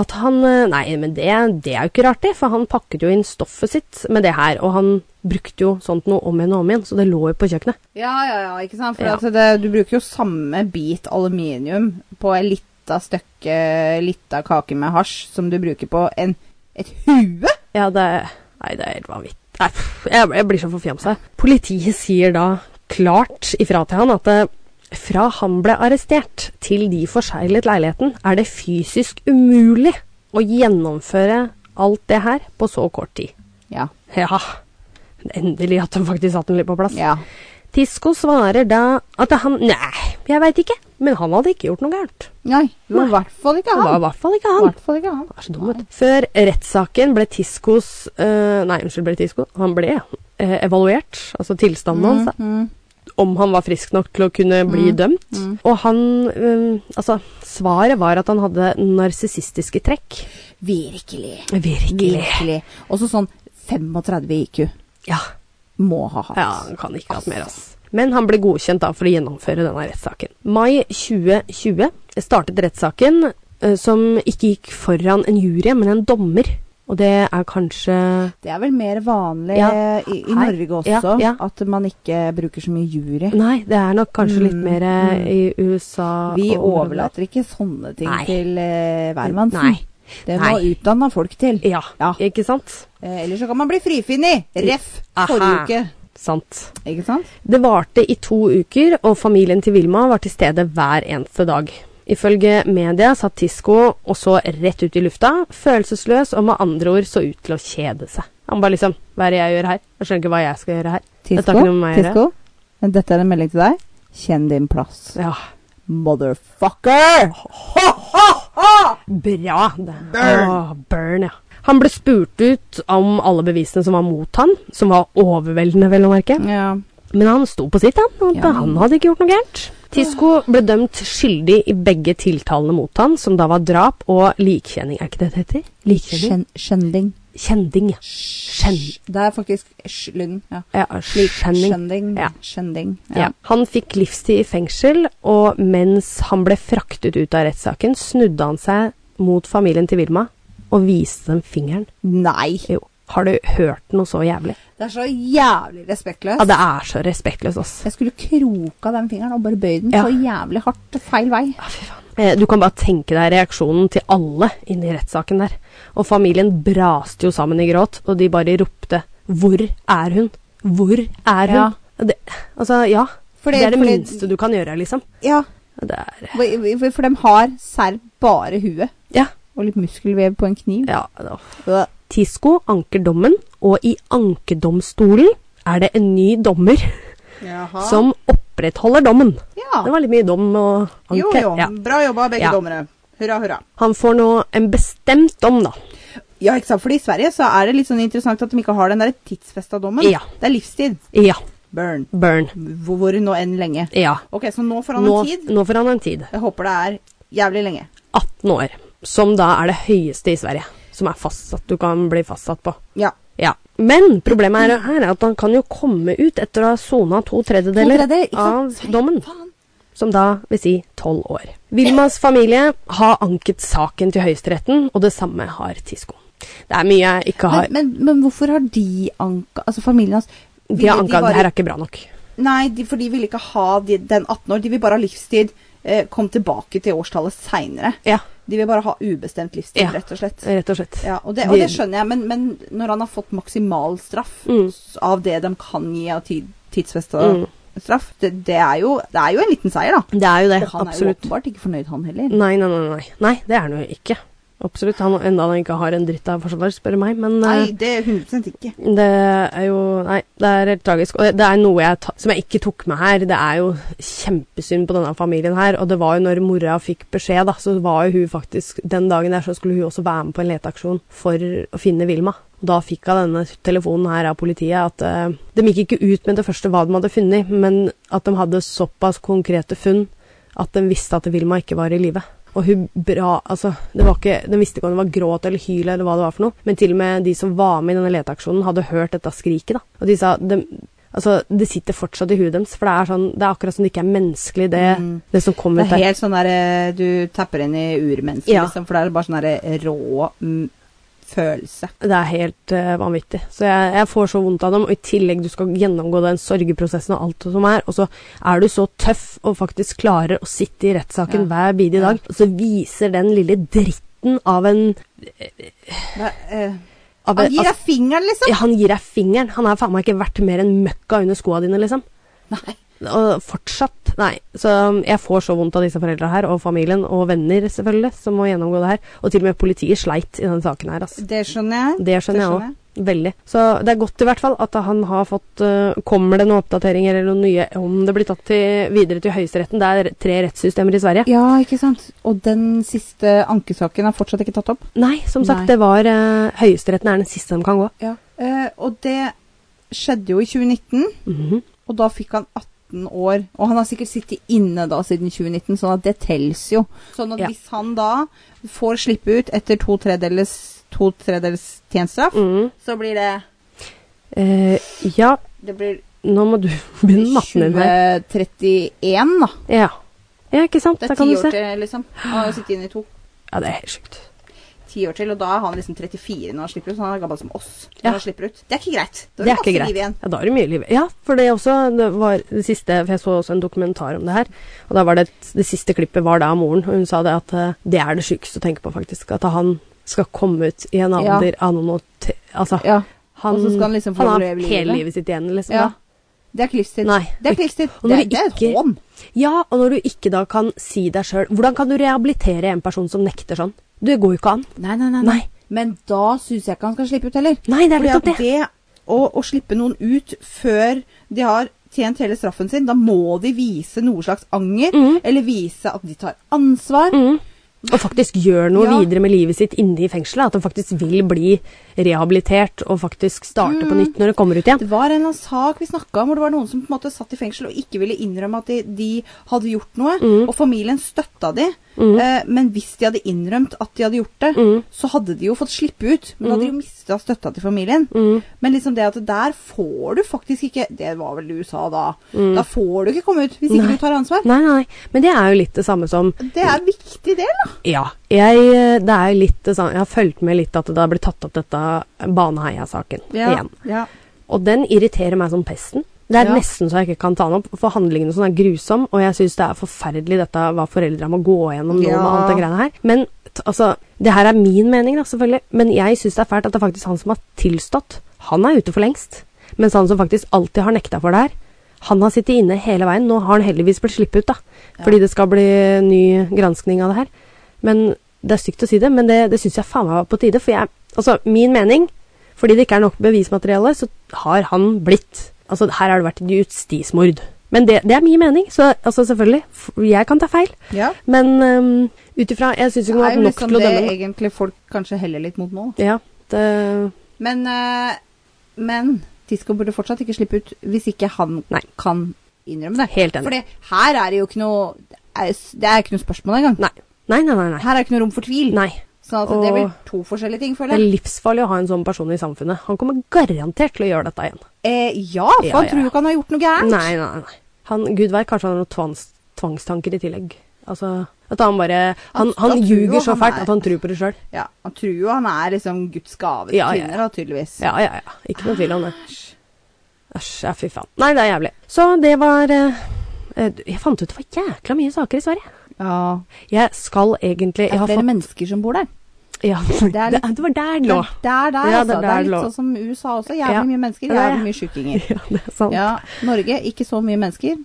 Speaker 1: At han eh, Nei, men det, det er jo ikke rart, det. For han pakket jo inn stoffet sitt med det her. Og han brukte jo sånt noe om igjen og om igjen, så det lå jo på kjøkkenet.
Speaker 2: Ja, ja, ja, ikke sant? For
Speaker 1: Ja.
Speaker 2: at det, du bruker jo samme bit aluminium på en litt lita stykke lita kake med hasj som du bruker på en, et hue?
Speaker 1: Ja, det er Nei, det er helt vanvittig. Nei, pff, jeg, jeg blir så forfjamsa. Politiet sier da klart ifra til han at eh, fra han ble arrestert til de forseglet leiligheten, er det fysisk umulig å gjennomføre alt det her på så kort tid.
Speaker 2: Ja.
Speaker 1: Ja, endelig at han faktisk satt den litt på plass.
Speaker 2: ja.
Speaker 1: Tisco svarer da at han Nei, jeg veit ikke. Men han hadde ikke gjort noe gærent.
Speaker 2: Nei, det var i
Speaker 1: Nei.
Speaker 2: hvert fall ikke
Speaker 1: Det var i
Speaker 2: han.
Speaker 1: hvert fall ikke
Speaker 2: I
Speaker 1: han.
Speaker 2: hvert fall ikke han.
Speaker 1: Han er så dum, vet du. Før rettssaken ble Tiscos eh, Nei, unnskyld, ble Tisco. Han ble eh, evaluert, altså tilstanden hans, da,
Speaker 2: Mm.
Speaker 1: om han var frisk nok til å kunne bli dømt. Og han eh, Altså, svaret var at han hadde narsissistiske trekk.
Speaker 2: Virkelig.
Speaker 1: Virkelig.
Speaker 2: Virkelig. Også sånn 35 i IQ.
Speaker 1: Ja.
Speaker 2: Må ha hatt.
Speaker 1: ja. Han kan ikke ha hatt mer, ass. Men han ble godkjent da for å gjennomføre denne rettssaken. Mai 2020 startet rettssaken, eh, som ikke gikk foran en jury, men en dommer. Og det er kanskje
Speaker 2: Det er vel mer vanlig
Speaker 1: Ja,
Speaker 2: i, i
Speaker 1: her.
Speaker 2: Norge også,
Speaker 1: Ja, ja.
Speaker 2: at man ikke bruker så mye jury.
Speaker 1: Nei, det er nok kanskje litt mer eh, i USA
Speaker 2: Mm, Vi
Speaker 1: og området der.
Speaker 2: overlater ikke sånne ting
Speaker 1: Nei.
Speaker 2: til eh, hvermannsen.
Speaker 1: Nei.
Speaker 2: Det må
Speaker 1: Nei.
Speaker 2: utdanna folk til.
Speaker 1: Ja,
Speaker 2: Ja.
Speaker 1: ikke sant?
Speaker 2: Eh, ellers så kan man bli frifunnet! Ref.
Speaker 1: Aha.
Speaker 2: forrige uke.
Speaker 1: Sant.
Speaker 2: Ikke sant?
Speaker 1: Det varte i to uker, og familien til Vilma var til stede hver eneste dag. Ifølge media satt Tisco også rett ut i lufta, følelsesløs og med andre ord så ut til å kjede seg. Han bare liksom Hva er det jeg gjør her? Jeg skjønner ikke hva jeg skal gjøre her. Dette har
Speaker 2: Tisco,
Speaker 1: ikke noe med meg å gjøre.
Speaker 2: Tisco, dette er en melding til deg. Kjenn din plass.
Speaker 1: Ja.
Speaker 2: Motherfucker! Ha, ha, ha!
Speaker 1: Bra! Det. Burn. burn, ja. Han ble spurt ut om alle bevisene som var mot han, som var overveldende, vel å merke.
Speaker 2: Ja.
Speaker 1: Men han sto på sitt, han. Han,
Speaker 2: Ja.
Speaker 1: han hadde ikke gjort noe gærent. Tisco ble dømt skyldig i begge tiltalene mot han, som da var drap og likkjenning. Er ikke det det heter? Likkjenning?
Speaker 2: Skjen- Skjending.
Speaker 1: Kjending, ja.
Speaker 2: Skjen... Det er faktisk sj- lyden. Ja.
Speaker 1: ja likkjenning.
Speaker 2: Skjending.
Speaker 1: Ja.
Speaker 2: Skjending.
Speaker 1: Ja. Han fikk livstid i fengsel, og mens han ble fraktet ut av rettssaken, snudde han seg mot familien til Vilma og viste dem fingeren.
Speaker 2: Nei!
Speaker 1: Jo, har du hørt noe så jævlig?
Speaker 2: Det er så jævlig respektløst.
Speaker 1: Ja, det er så respektløst, ass.
Speaker 2: Jeg skulle kroka den fingeren og bare bøyd den
Speaker 1: Ja.
Speaker 2: så jævlig hardt feil vei.
Speaker 1: Ja, fy faen. Eh, Du kan bare tenke deg reaksjonen til alle inne i rettssaken der. Og familien braste jo sammen i gråt, og de bare ropte 'Hvor er hun?' 'Hvor er hun?'
Speaker 2: Ja.
Speaker 1: Det, altså, ja.
Speaker 2: Fordi-
Speaker 1: det er det
Speaker 2: fordi-
Speaker 1: minste du kan gjøre, liksom.
Speaker 2: Ja,
Speaker 1: Det er
Speaker 2: for, for- for de har serr bare huet
Speaker 1: Ja.
Speaker 2: og litt muskelvev på en kniv.
Speaker 1: ja da.
Speaker 2: Øh.
Speaker 1: Tisco anker dommen, og i ankedomstolen er det en ny dommer som opprettholder dommen.
Speaker 2: Ah. Ja.
Speaker 1: Det var litt mye dom og anke.
Speaker 2: Jo, jo.
Speaker 1: Ja.
Speaker 2: Bra jobba, begge
Speaker 1: Ja.
Speaker 2: dommere. Hurra, hurra.
Speaker 1: Han får nå en bestemt dom, da.
Speaker 2: Ja, ikke sant? Fordi i Sverige så er det litt sånn interessant at de ikke har den der tidsfesta dommen.
Speaker 1: Ja.
Speaker 2: Det er livstid.
Speaker 1: Ja.
Speaker 2: Burn.
Speaker 1: Burn.
Speaker 2: Hvor, hvor nå enn lenge.
Speaker 1: Ja.
Speaker 2: Ok, så nå får han
Speaker 1: Nå,
Speaker 2: en tid.
Speaker 1: nå får han en tid.
Speaker 2: Jeg håper det er jævlig lenge.
Speaker 1: 18 år, som da er det høyeste i Sverige, som er fastsatt, du kan bli fastsatt på.
Speaker 2: Ja.
Speaker 1: Ja. Men problemet er, her er at han kan jo komme ut etter å ha sona to tredjedeler
Speaker 2: To tredjedeler, ikke sant?
Speaker 1: av dommen,
Speaker 2: Faen.
Speaker 1: som da vil si tolv år. Vilmas familie har anket saken til Høyesteretten, og det samme har Tisco. Det er mye jeg ikke har
Speaker 2: Men, men, men hvorfor har de anka Altså familien hans
Speaker 1: De har
Speaker 2: ville
Speaker 1: anka, det
Speaker 2: bare-
Speaker 1: her er ikke bra nok.
Speaker 2: Nei, de, for de vil ikke ha de, den 18 år. De vil bare ha livstid. Eh, kom tilbake til årstallet seinere.
Speaker 1: Ja,
Speaker 2: De vil bare ha ubestemt livstid,
Speaker 1: Ja.
Speaker 2: rett og slett.
Speaker 1: rett og slett.
Speaker 2: Ja, og det, og det
Speaker 1: De-
Speaker 2: skjønner jeg, men, men når han har fått maksimal straff
Speaker 1: Mm.
Speaker 2: s- av det de kan gi av tid, tidsfesta
Speaker 1: Mm.
Speaker 2: straff, det, det, er jo, det er jo en liten seier, da.
Speaker 1: Det er jo det,
Speaker 2: Og han er jo
Speaker 1: absolutt.
Speaker 2: åpenbart ikke fornøyd, han heller.
Speaker 1: Nei, nei, nei, nei. Nei, det er han jo ikke. Absolutt. Han, enda han ikke har en dritt av forsvar, spør du meg, men
Speaker 2: Nei,
Speaker 1: eh,
Speaker 2: det er 100 ikke.
Speaker 1: Det er jo Nei, det er helt tragisk. Og det er noe jeg ta, som jeg ikke tok med her. Det er jo kjempesynd på denne familien her. Og det var jo når mora fikk beskjed, da, så var jo hun faktisk Den dagen der så skulle hun også være med på en leteaksjon for å finne Vilma. Og da fikk hun denne telefonen her av politiet at eh, de gikk ikke ut med det første hva de hadde funnet, men at de hadde såpass konkrete funn at de visste at Vilma ikke var i live. Og hun bra, altså, det var ikke, De visste ikke om det var gråt eller hyl eller hva det var for noe, men til og med de som var med i denne leteaksjonen, hadde hørt dette skriket. da. Og de sa de, altså, Det sitter fortsatt i huet deres, for det er, sånn, det er akkurat som det ikke er menneskelig, det, det som kom
Speaker 2: Mm.
Speaker 1: ut
Speaker 2: Det er
Speaker 1: der.
Speaker 2: helt sånn der eh, Du tapper inn i urmennesket,
Speaker 1: Ja.
Speaker 2: liksom, for det er bare sånn der eh, rå mm, følelse.
Speaker 1: Det er helt eh, vanvittig. Så jeg, jeg får så vondt av dem. Og i tillegg, du skal gjennomgå den sorgeprosessen og alt som er. Og så er du så tøff og faktisk klarer å sitte i rettssaken
Speaker 2: Ja.
Speaker 1: hver bidige dag. Og så viser den lille dritten av en
Speaker 2: Det, eh,
Speaker 1: av
Speaker 2: han gir
Speaker 1: altså,
Speaker 2: deg fingeren, liksom!
Speaker 1: ja, han gir deg fingeren. Han er faen meg ikke verdt mer enn møkka under skoa dine, liksom.
Speaker 2: Nei.
Speaker 1: Og fortsatt, nei. Så um, jeg får så vondt av disse foreldra her, og familien, og venner selvfølgelig, som må gjennomgå det her. Og til og med politiet sleit i denne saken her, altså.
Speaker 2: Det skjønner jeg.
Speaker 1: Det skjønner jeg òg. Veldig. Så det er godt i hvert fall at han har fått eh, Kommer det noen oppdateringer eller noe nye om det blir tatt til, videre til høyesteretten? Det er tre rettssystemer i Sverige.
Speaker 2: Ja, ikke sant. Og den siste ankesaken er fortsatt ikke tatt opp.
Speaker 1: Nei, som sagt,
Speaker 2: Nei.
Speaker 1: det var eh, Høyesteretten er den siste de kan gå.
Speaker 2: Eh, og det skjedde jo i 2019,
Speaker 1: Mhm.
Speaker 2: og da fikk han 18 år. Og han har sikkert sittet inne da siden 2019, sånn at det telles jo. Sånn at
Speaker 1: Ja.
Speaker 2: hvis han da får slippe ut etter to tredjedels to tredjedels tjenestestraff,
Speaker 1: Mhm.
Speaker 2: så blir det
Speaker 1: Eh, ja,
Speaker 2: Det blir
Speaker 1: nå må du begynne matten din her.
Speaker 2: 2031, da.
Speaker 1: Ja. ja, ikke sant?
Speaker 2: Det
Speaker 1: Da
Speaker 2: er
Speaker 1: kan
Speaker 2: ti
Speaker 1: du
Speaker 2: år
Speaker 1: se.
Speaker 2: til, liksom. Han har jo sittet inne i to.
Speaker 1: Ja, det er helt sjukt.
Speaker 2: Ti år til, og da er han liksom 34 når han slipper ut. Så han er gammel som oss når
Speaker 1: Ja.
Speaker 2: han slipper ut. Det er ikke greit. Da
Speaker 1: Det er
Speaker 2: masse
Speaker 1: ikke greit.
Speaker 2: liv igjen.
Speaker 1: Ja, da er det mye liv. Ja, for det også det var det siste For jeg så også en dokumentar om det her. Og da var det et, det siste klippet var da av moren. Og hun sa det at eh, det er det sjukeste å tenke på, faktisk. At han skal komme ut i en
Speaker 2: Ja.
Speaker 1: alder av noen og t... Altså,
Speaker 2: Ja.
Speaker 1: han,
Speaker 2: Og så skal han liksom få
Speaker 1: har
Speaker 2: leve livet.
Speaker 1: hele livet sitt igjen, liksom.
Speaker 2: Ja.
Speaker 1: da.
Speaker 2: Det er ikke livstid.
Speaker 1: Nei.
Speaker 2: Det er ikke livstid.
Speaker 1: Og
Speaker 2: Det,
Speaker 1: når
Speaker 2: er-
Speaker 1: du
Speaker 2: det er et
Speaker 1: ikke-
Speaker 2: hån.
Speaker 1: Ja, og når du ikke da kan si deg sjøl Hvordan kan du rehabilitere en person som nekter sånn? Det går jo ikke an.
Speaker 2: Nei, nei, nei.
Speaker 1: Nei.
Speaker 2: Men da syns jeg ikke han skal slippe ut heller.
Speaker 1: Nei, det er
Speaker 2: Fordi at
Speaker 1: nettopp det.
Speaker 2: det å, å slippe noen ut før de har tjent hele straffen sin, da må de vise noe slags anger,
Speaker 1: Mhm.
Speaker 2: eller vise at de tar ansvar.
Speaker 1: Mm. Og faktisk gjør noe
Speaker 2: Ja.
Speaker 1: videre med livet sitt inne i fengselet. At han faktisk vil bli rehabilitert og faktisk starte
Speaker 2: Mm.
Speaker 1: på nytt når det kommer ut igjen.
Speaker 2: Det var en eller annen sak vi snakka om, hvor det var noen som på en måte satt i fengsel og ikke ville innrømme at de, de hadde gjort noe,
Speaker 1: Mm.
Speaker 2: og familien støtta de. Eh, men hvis de hadde innrømt at de hadde gjort det,
Speaker 1: Mm.
Speaker 2: så hadde de jo fått slippe ut. Men da hadde de jo mista støtta til familien.
Speaker 1: Mm.
Speaker 2: Men liksom det at der får du faktisk ikke Det var vel i USA da. Da får du ikke komme ut hvis ikke
Speaker 1: Mm. Nei.
Speaker 2: du tar ansvar.
Speaker 1: Nei, nei, men det er jo litt det samme som
Speaker 2: Det er en viktig del, da.
Speaker 1: Ja, jeg, eh, det er jo litt det samme Jeg har fulgt med litt at det har blitt tatt opp dette Baneheia-saken igjen.
Speaker 2: ja.
Speaker 1: Og den irriterer meg som pesten. Det er
Speaker 2: Ja.
Speaker 1: nesten så jeg ikke kan ta den opp, for handlingene og sånn er grusom, og jeg syns det er forferdelig dette hva foreldra må gå gjennom nå med
Speaker 2: Ja.
Speaker 1: alt det greiene her. Men t- altså, det her er min mening, da, selvfølgelig, men jeg syns det er fælt at det er faktisk han som har tilstått, han er ute for lengst. Mens han som faktisk alltid har nekta for det her, han har sittet inne hele veien. Nå har han heldigvis blitt sluppet ut, da. Fordi det skal bli ny granskning av det her. Men det er stygt å si det, men det, det syns jeg faen meg var på tide. For jeg Altså, min mening fordi det ikke er nok bevismateriale, så har han blitt Altså, her har det vært et justismord. Men det, det er min mening, så altså, selvfølgelig. f- Jeg kan ta feil.
Speaker 2: ja.
Speaker 1: Men um, ut ifra Jeg syns
Speaker 2: Det
Speaker 1: ikke hun har
Speaker 2: er
Speaker 1: hatt
Speaker 2: jo
Speaker 1: nok
Speaker 2: liksom
Speaker 1: til å
Speaker 2: det
Speaker 1: dømme.
Speaker 2: egentlig folk kanskje heller litt mot nå. da.
Speaker 1: Ja, det
Speaker 2: Men, eh, men Tisco burde fortsatt ikke slippe ut hvis ikke han
Speaker 1: Nei.
Speaker 2: kan innrømme det.
Speaker 1: Helt enig.
Speaker 2: Fordi her er det jo ikke noe Det er, det er ikke noe spørsmål engang.
Speaker 1: Nei. Nei, nei, nei. nei.
Speaker 2: Her er det ikke noe rom for tvil.
Speaker 1: nei.
Speaker 2: Sånn at det
Speaker 1: Og-
Speaker 2: blir to forskjellige ting,
Speaker 1: Det
Speaker 2: føler
Speaker 1: er
Speaker 2: jeg.
Speaker 1: livsfarlig å ha en sånn person i samfunnet. Han kommer garantert til å gjøre dette igjen.
Speaker 2: Eh, ja, for
Speaker 1: Ja,
Speaker 2: han
Speaker 1: ja,
Speaker 2: tror
Speaker 1: ja.
Speaker 2: jo ikke han har gjort noe gærent.
Speaker 1: Nei, nei, nei. Han, Gud veit, kanskje han har noen tvangs, tvangstanker i tillegg. Altså At han bare Han,
Speaker 2: Han- han
Speaker 1: han
Speaker 2: tror jo
Speaker 1: ljuger så
Speaker 2: han
Speaker 1: fælt
Speaker 2: er-
Speaker 1: at han tror på det sjøl.
Speaker 2: Ja, han tror jo han er liksom Guds gave til
Speaker 1: Ja, ja, ja.
Speaker 2: kvinner, da, tydeligvis.
Speaker 1: Ja, ja, ja. Ikke noe tvil om det. Æsj, ja, fy faen. Nei, det er jævlig. Så det var eh, eh, Jeg fant ut det var jækla mye saker i Sverige.
Speaker 2: Ja.
Speaker 1: Jeg skal egentlig
Speaker 2: Det
Speaker 1: jeg
Speaker 2: er
Speaker 1: har
Speaker 2: flere
Speaker 1: fått,
Speaker 2: mennesker som bor der.
Speaker 1: ja,
Speaker 2: Det er
Speaker 1: det,
Speaker 2: litt-
Speaker 1: det var der det
Speaker 2: Det
Speaker 1: lå.
Speaker 2: er der, der,
Speaker 1: Ja, det
Speaker 2: altså.
Speaker 1: er
Speaker 2: Det
Speaker 1: der
Speaker 2: er
Speaker 1: lå.
Speaker 2: litt sånn som USA også. Jævlig
Speaker 1: Ja.
Speaker 2: mye mennesker,
Speaker 1: Ja, ja.
Speaker 2: jævlig mye sjukinger.
Speaker 1: Ja, det er sant. Ja.
Speaker 2: Ja. Norge, ikke så mye mennesker.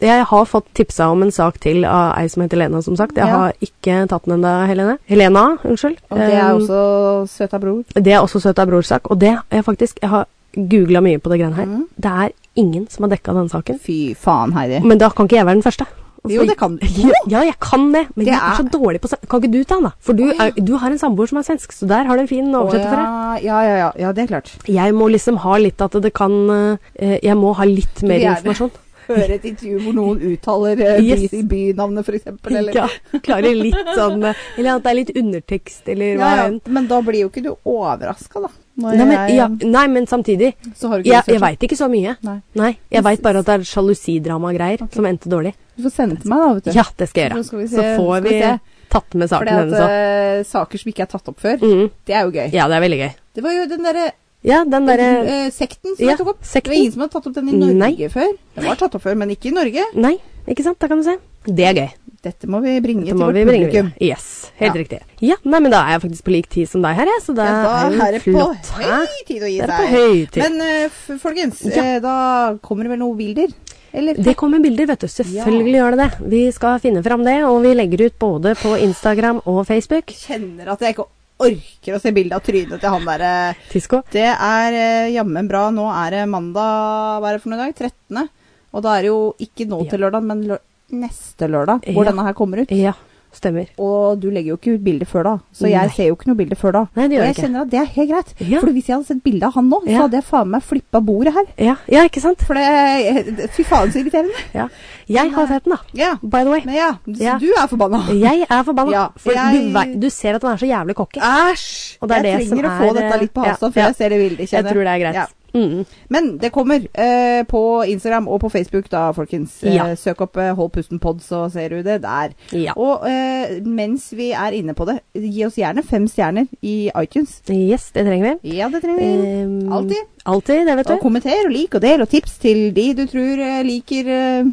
Speaker 1: Jeg har fått tipsa om en sak til av ei som heter Lena, som sagt. Jeg
Speaker 2: Ja.
Speaker 1: har ikke tatt den ennå, Helene. Helena, unnskyld.
Speaker 2: Og det er
Speaker 1: Um,
Speaker 2: også søta bror.
Speaker 1: Det er også søta brors sak. Og det har jeg faktisk Jeg har googla mye på det greiene her.
Speaker 2: Mm.
Speaker 1: Det er ingen som har dekka den saken.
Speaker 2: Fy faen, Heidi.
Speaker 1: Men da kan ikke jeg være den første.
Speaker 2: Jo, det kan du.
Speaker 1: Ja, ja, jeg kan det, men
Speaker 2: Det
Speaker 1: jeg er så
Speaker 2: er-
Speaker 1: dårlig på sven- Kan ikke du ta den, da? For du, er, du har en samboer som er svensk, så der har du en fin oversetter for deg.
Speaker 2: ja, ja, ja, ja. Ja, det er klart.
Speaker 1: Jeg må liksom ha litt at det kan eh, Jeg må ha litt mer
Speaker 2: vi er-
Speaker 1: informasjon.
Speaker 2: Høre et intervju hvor noen uttaler eh, by,
Speaker 1: Yes.
Speaker 2: bynavnet, for eksempel. Eller,
Speaker 1: Ja, klarer litt sånn eh, Eller at det er litt undertekst, eller hva
Speaker 2: Ja, ja.
Speaker 1: enn.
Speaker 2: Men da blir jo ikke du overraska, da. Når
Speaker 1: Nei men,
Speaker 2: jeg-
Speaker 1: ja, nei, men samtidig.
Speaker 2: Så har du ikke
Speaker 1: Jeg, jeg
Speaker 2: researcha.
Speaker 1: veit ikke så mye.
Speaker 2: Nei.
Speaker 1: Nei, Jeg veit bare at det er sjalusidrama-greier som endte dårlig.
Speaker 2: Du får sende det til meg, da, vet du.
Speaker 1: Ja, det skal jeg gjøre.
Speaker 2: Så skal vi se.
Speaker 1: Så får
Speaker 2: skal vi
Speaker 1: vi
Speaker 2: se.
Speaker 1: tatt med
Speaker 2: Fordi
Speaker 1: saken
Speaker 2: at
Speaker 1: hennes òg.
Speaker 2: eh, saker som ikke er tatt opp før,
Speaker 1: Mm.
Speaker 2: det er jo gøy.
Speaker 1: Ja, det er veldig gøy.
Speaker 2: Det var jo den derre
Speaker 1: Ja, den derre
Speaker 2: eh, sekten som
Speaker 1: ja,
Speaker 2: jeg tok opp. Det
Speaker 1: sekten.
Speaker 2: var ingen som hadde tatt opp den i Norge
Speaker 1: Nei.
Speaker 2: før. Den var tatt opp før, men ikke i Norge.
Speaker 1: Nei, ikke sant? Da kan du se. Det er gøy.
Speaker 2: Dette må vi bringe
Speaker 1: Det
Speaker 2: til
Speaker 1: må
Speaker 2: vårt
Speaker 1: vi bringe videre.
Speaker 2: publikum.
Speaker 1: Yes, helt
Speaker 2: Ja.
Speaker 1: riktig. Ja, nei, men da er jeg faktisk på lik tid som deg her, jeg, så det
Speaker 2: Ja, da
Speaker 1: er jo
Speaker 2: er det på
Speaker 1: flott.
Speaker 2: høy tid å gi
Speaker 1: Det er på
Speaker 2: seg.
Speaker 1: høy tid.
Speaker 2: Men eh, f- folkens,
Speaker 1: Ja.
Speaker 2: eh, da kommer det vel noen bilder? Eller?
Speaker 1: Det kommer bilder, vet du. Selvfølgelig gjør det det. Vi skal finne fram det, og vi legger ut både på Instagram og Facebook.
Speaker 2: kjenner at jeg ikke orker å se bilde av trynet til han derre
Speaker 1: Tisko.
Speaker 2: Det er eh, jammen bra. Nå er det mandag, hva er det for noen dag? 13. Og da er det jo ikke nå til lørdag, men lø neste lørdag, hvor
Speaker 1: Ja.
Speaker 2: denne her kommer ut.
Speaker 1: Ja, stemmer.
Speaker 2: Og du legger jo ikke ut bilde før da, så jeg
Speaker 1: Nei.
Speaker 2: ser jo ikke noe bilde før da.
Speaker 1: Nei, det gjør jeg
Speaker 2: og jeg
Speaker 1: ikke.
Speaker 2: kjenner at det er helt greit.
Speaker 1: Ja.
Speaker 2: For hvis jeg hadde sett bilde av han nå, så
Speaker 1: Ja.
Speaker 2: hadde jeg faen meg flippa bordet her.
Speaker 1: Ja, ja ikke sant?
Speaker 2: For det eh, Fy faen, så irriterende.
Speaker 1: Ja. Jeg har sett den, da.
Speaker 2: Ja.
Speaker 1: By the way.
Speaker 2: Men ja, du,
Speaker 1: Ja.
Speaker 2: du er forbanna.
Speaker 1: Jeg er forbanna.
Speaker 2: Ja,
Speaker 1: for
Speaker 2: jeg-
Speaker 1: du, vei- du ser at den er så jævlig cocky.
Speaker 2: Æsj!
Speaker 1: Og det er
Speaker 2: jeg
Speaker 1: det som
Speaker 2: trenger å få
Speaker 1: er,
Speaker 2: dette litt på
Speaker 1: ja,
Speaker 2: avstand før
Speaker 1: ja.
Speaker 2: jeg ser det bildet.
Speaker 1: Jeg
Speaker 2: kjenner
Speaker 1: tror det er greit.
Speaker 2: Ja.
Speaker 1: Mm.
Speaker 2: Men det kommer eh, på Instagram og på Facebook, da, folkens. Eh,
Speaker 1: Ja.
Speaker 2: Søk opp eh, Hold pusten pod, så ser du det der.
Speaker 1: Ja.
Speaker 2: Og eh, mens vi er inne på det, gi oss gjerne fem stjerner i iTunes.
Speaker 1: Yes, det trenger vi.
Speaker 2: Ja, det trenger vi.
Speaker 1: Ehm,
Speaker 2: Mm, Alltid.
Speaker 1: Alltid, det vet
Speaker 2: Og
Speaker 1: du.
Speaker 2: kommenter og lik og del, og tips til de du tror eh, liker eh,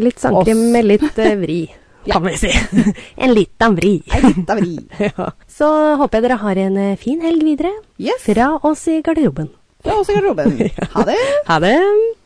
Speaker 1: Litt sandkrem
Speaker 2: oss.
Speaker 1: med litt eh, vri,
Speaker 2: Ja.
Speaker 1: kan vi si. En liten vri.
Speaker 2: ei lita vri.
Speaker 1: Ja. Så håper jeg dere har en eh, fin helg videre.
Speaker 2: Yes.
Speaker 1: Fra oss i garderoben.
Speaker 2: Fra oss i garderoben. Ha det.
Speaker 1: Ha det!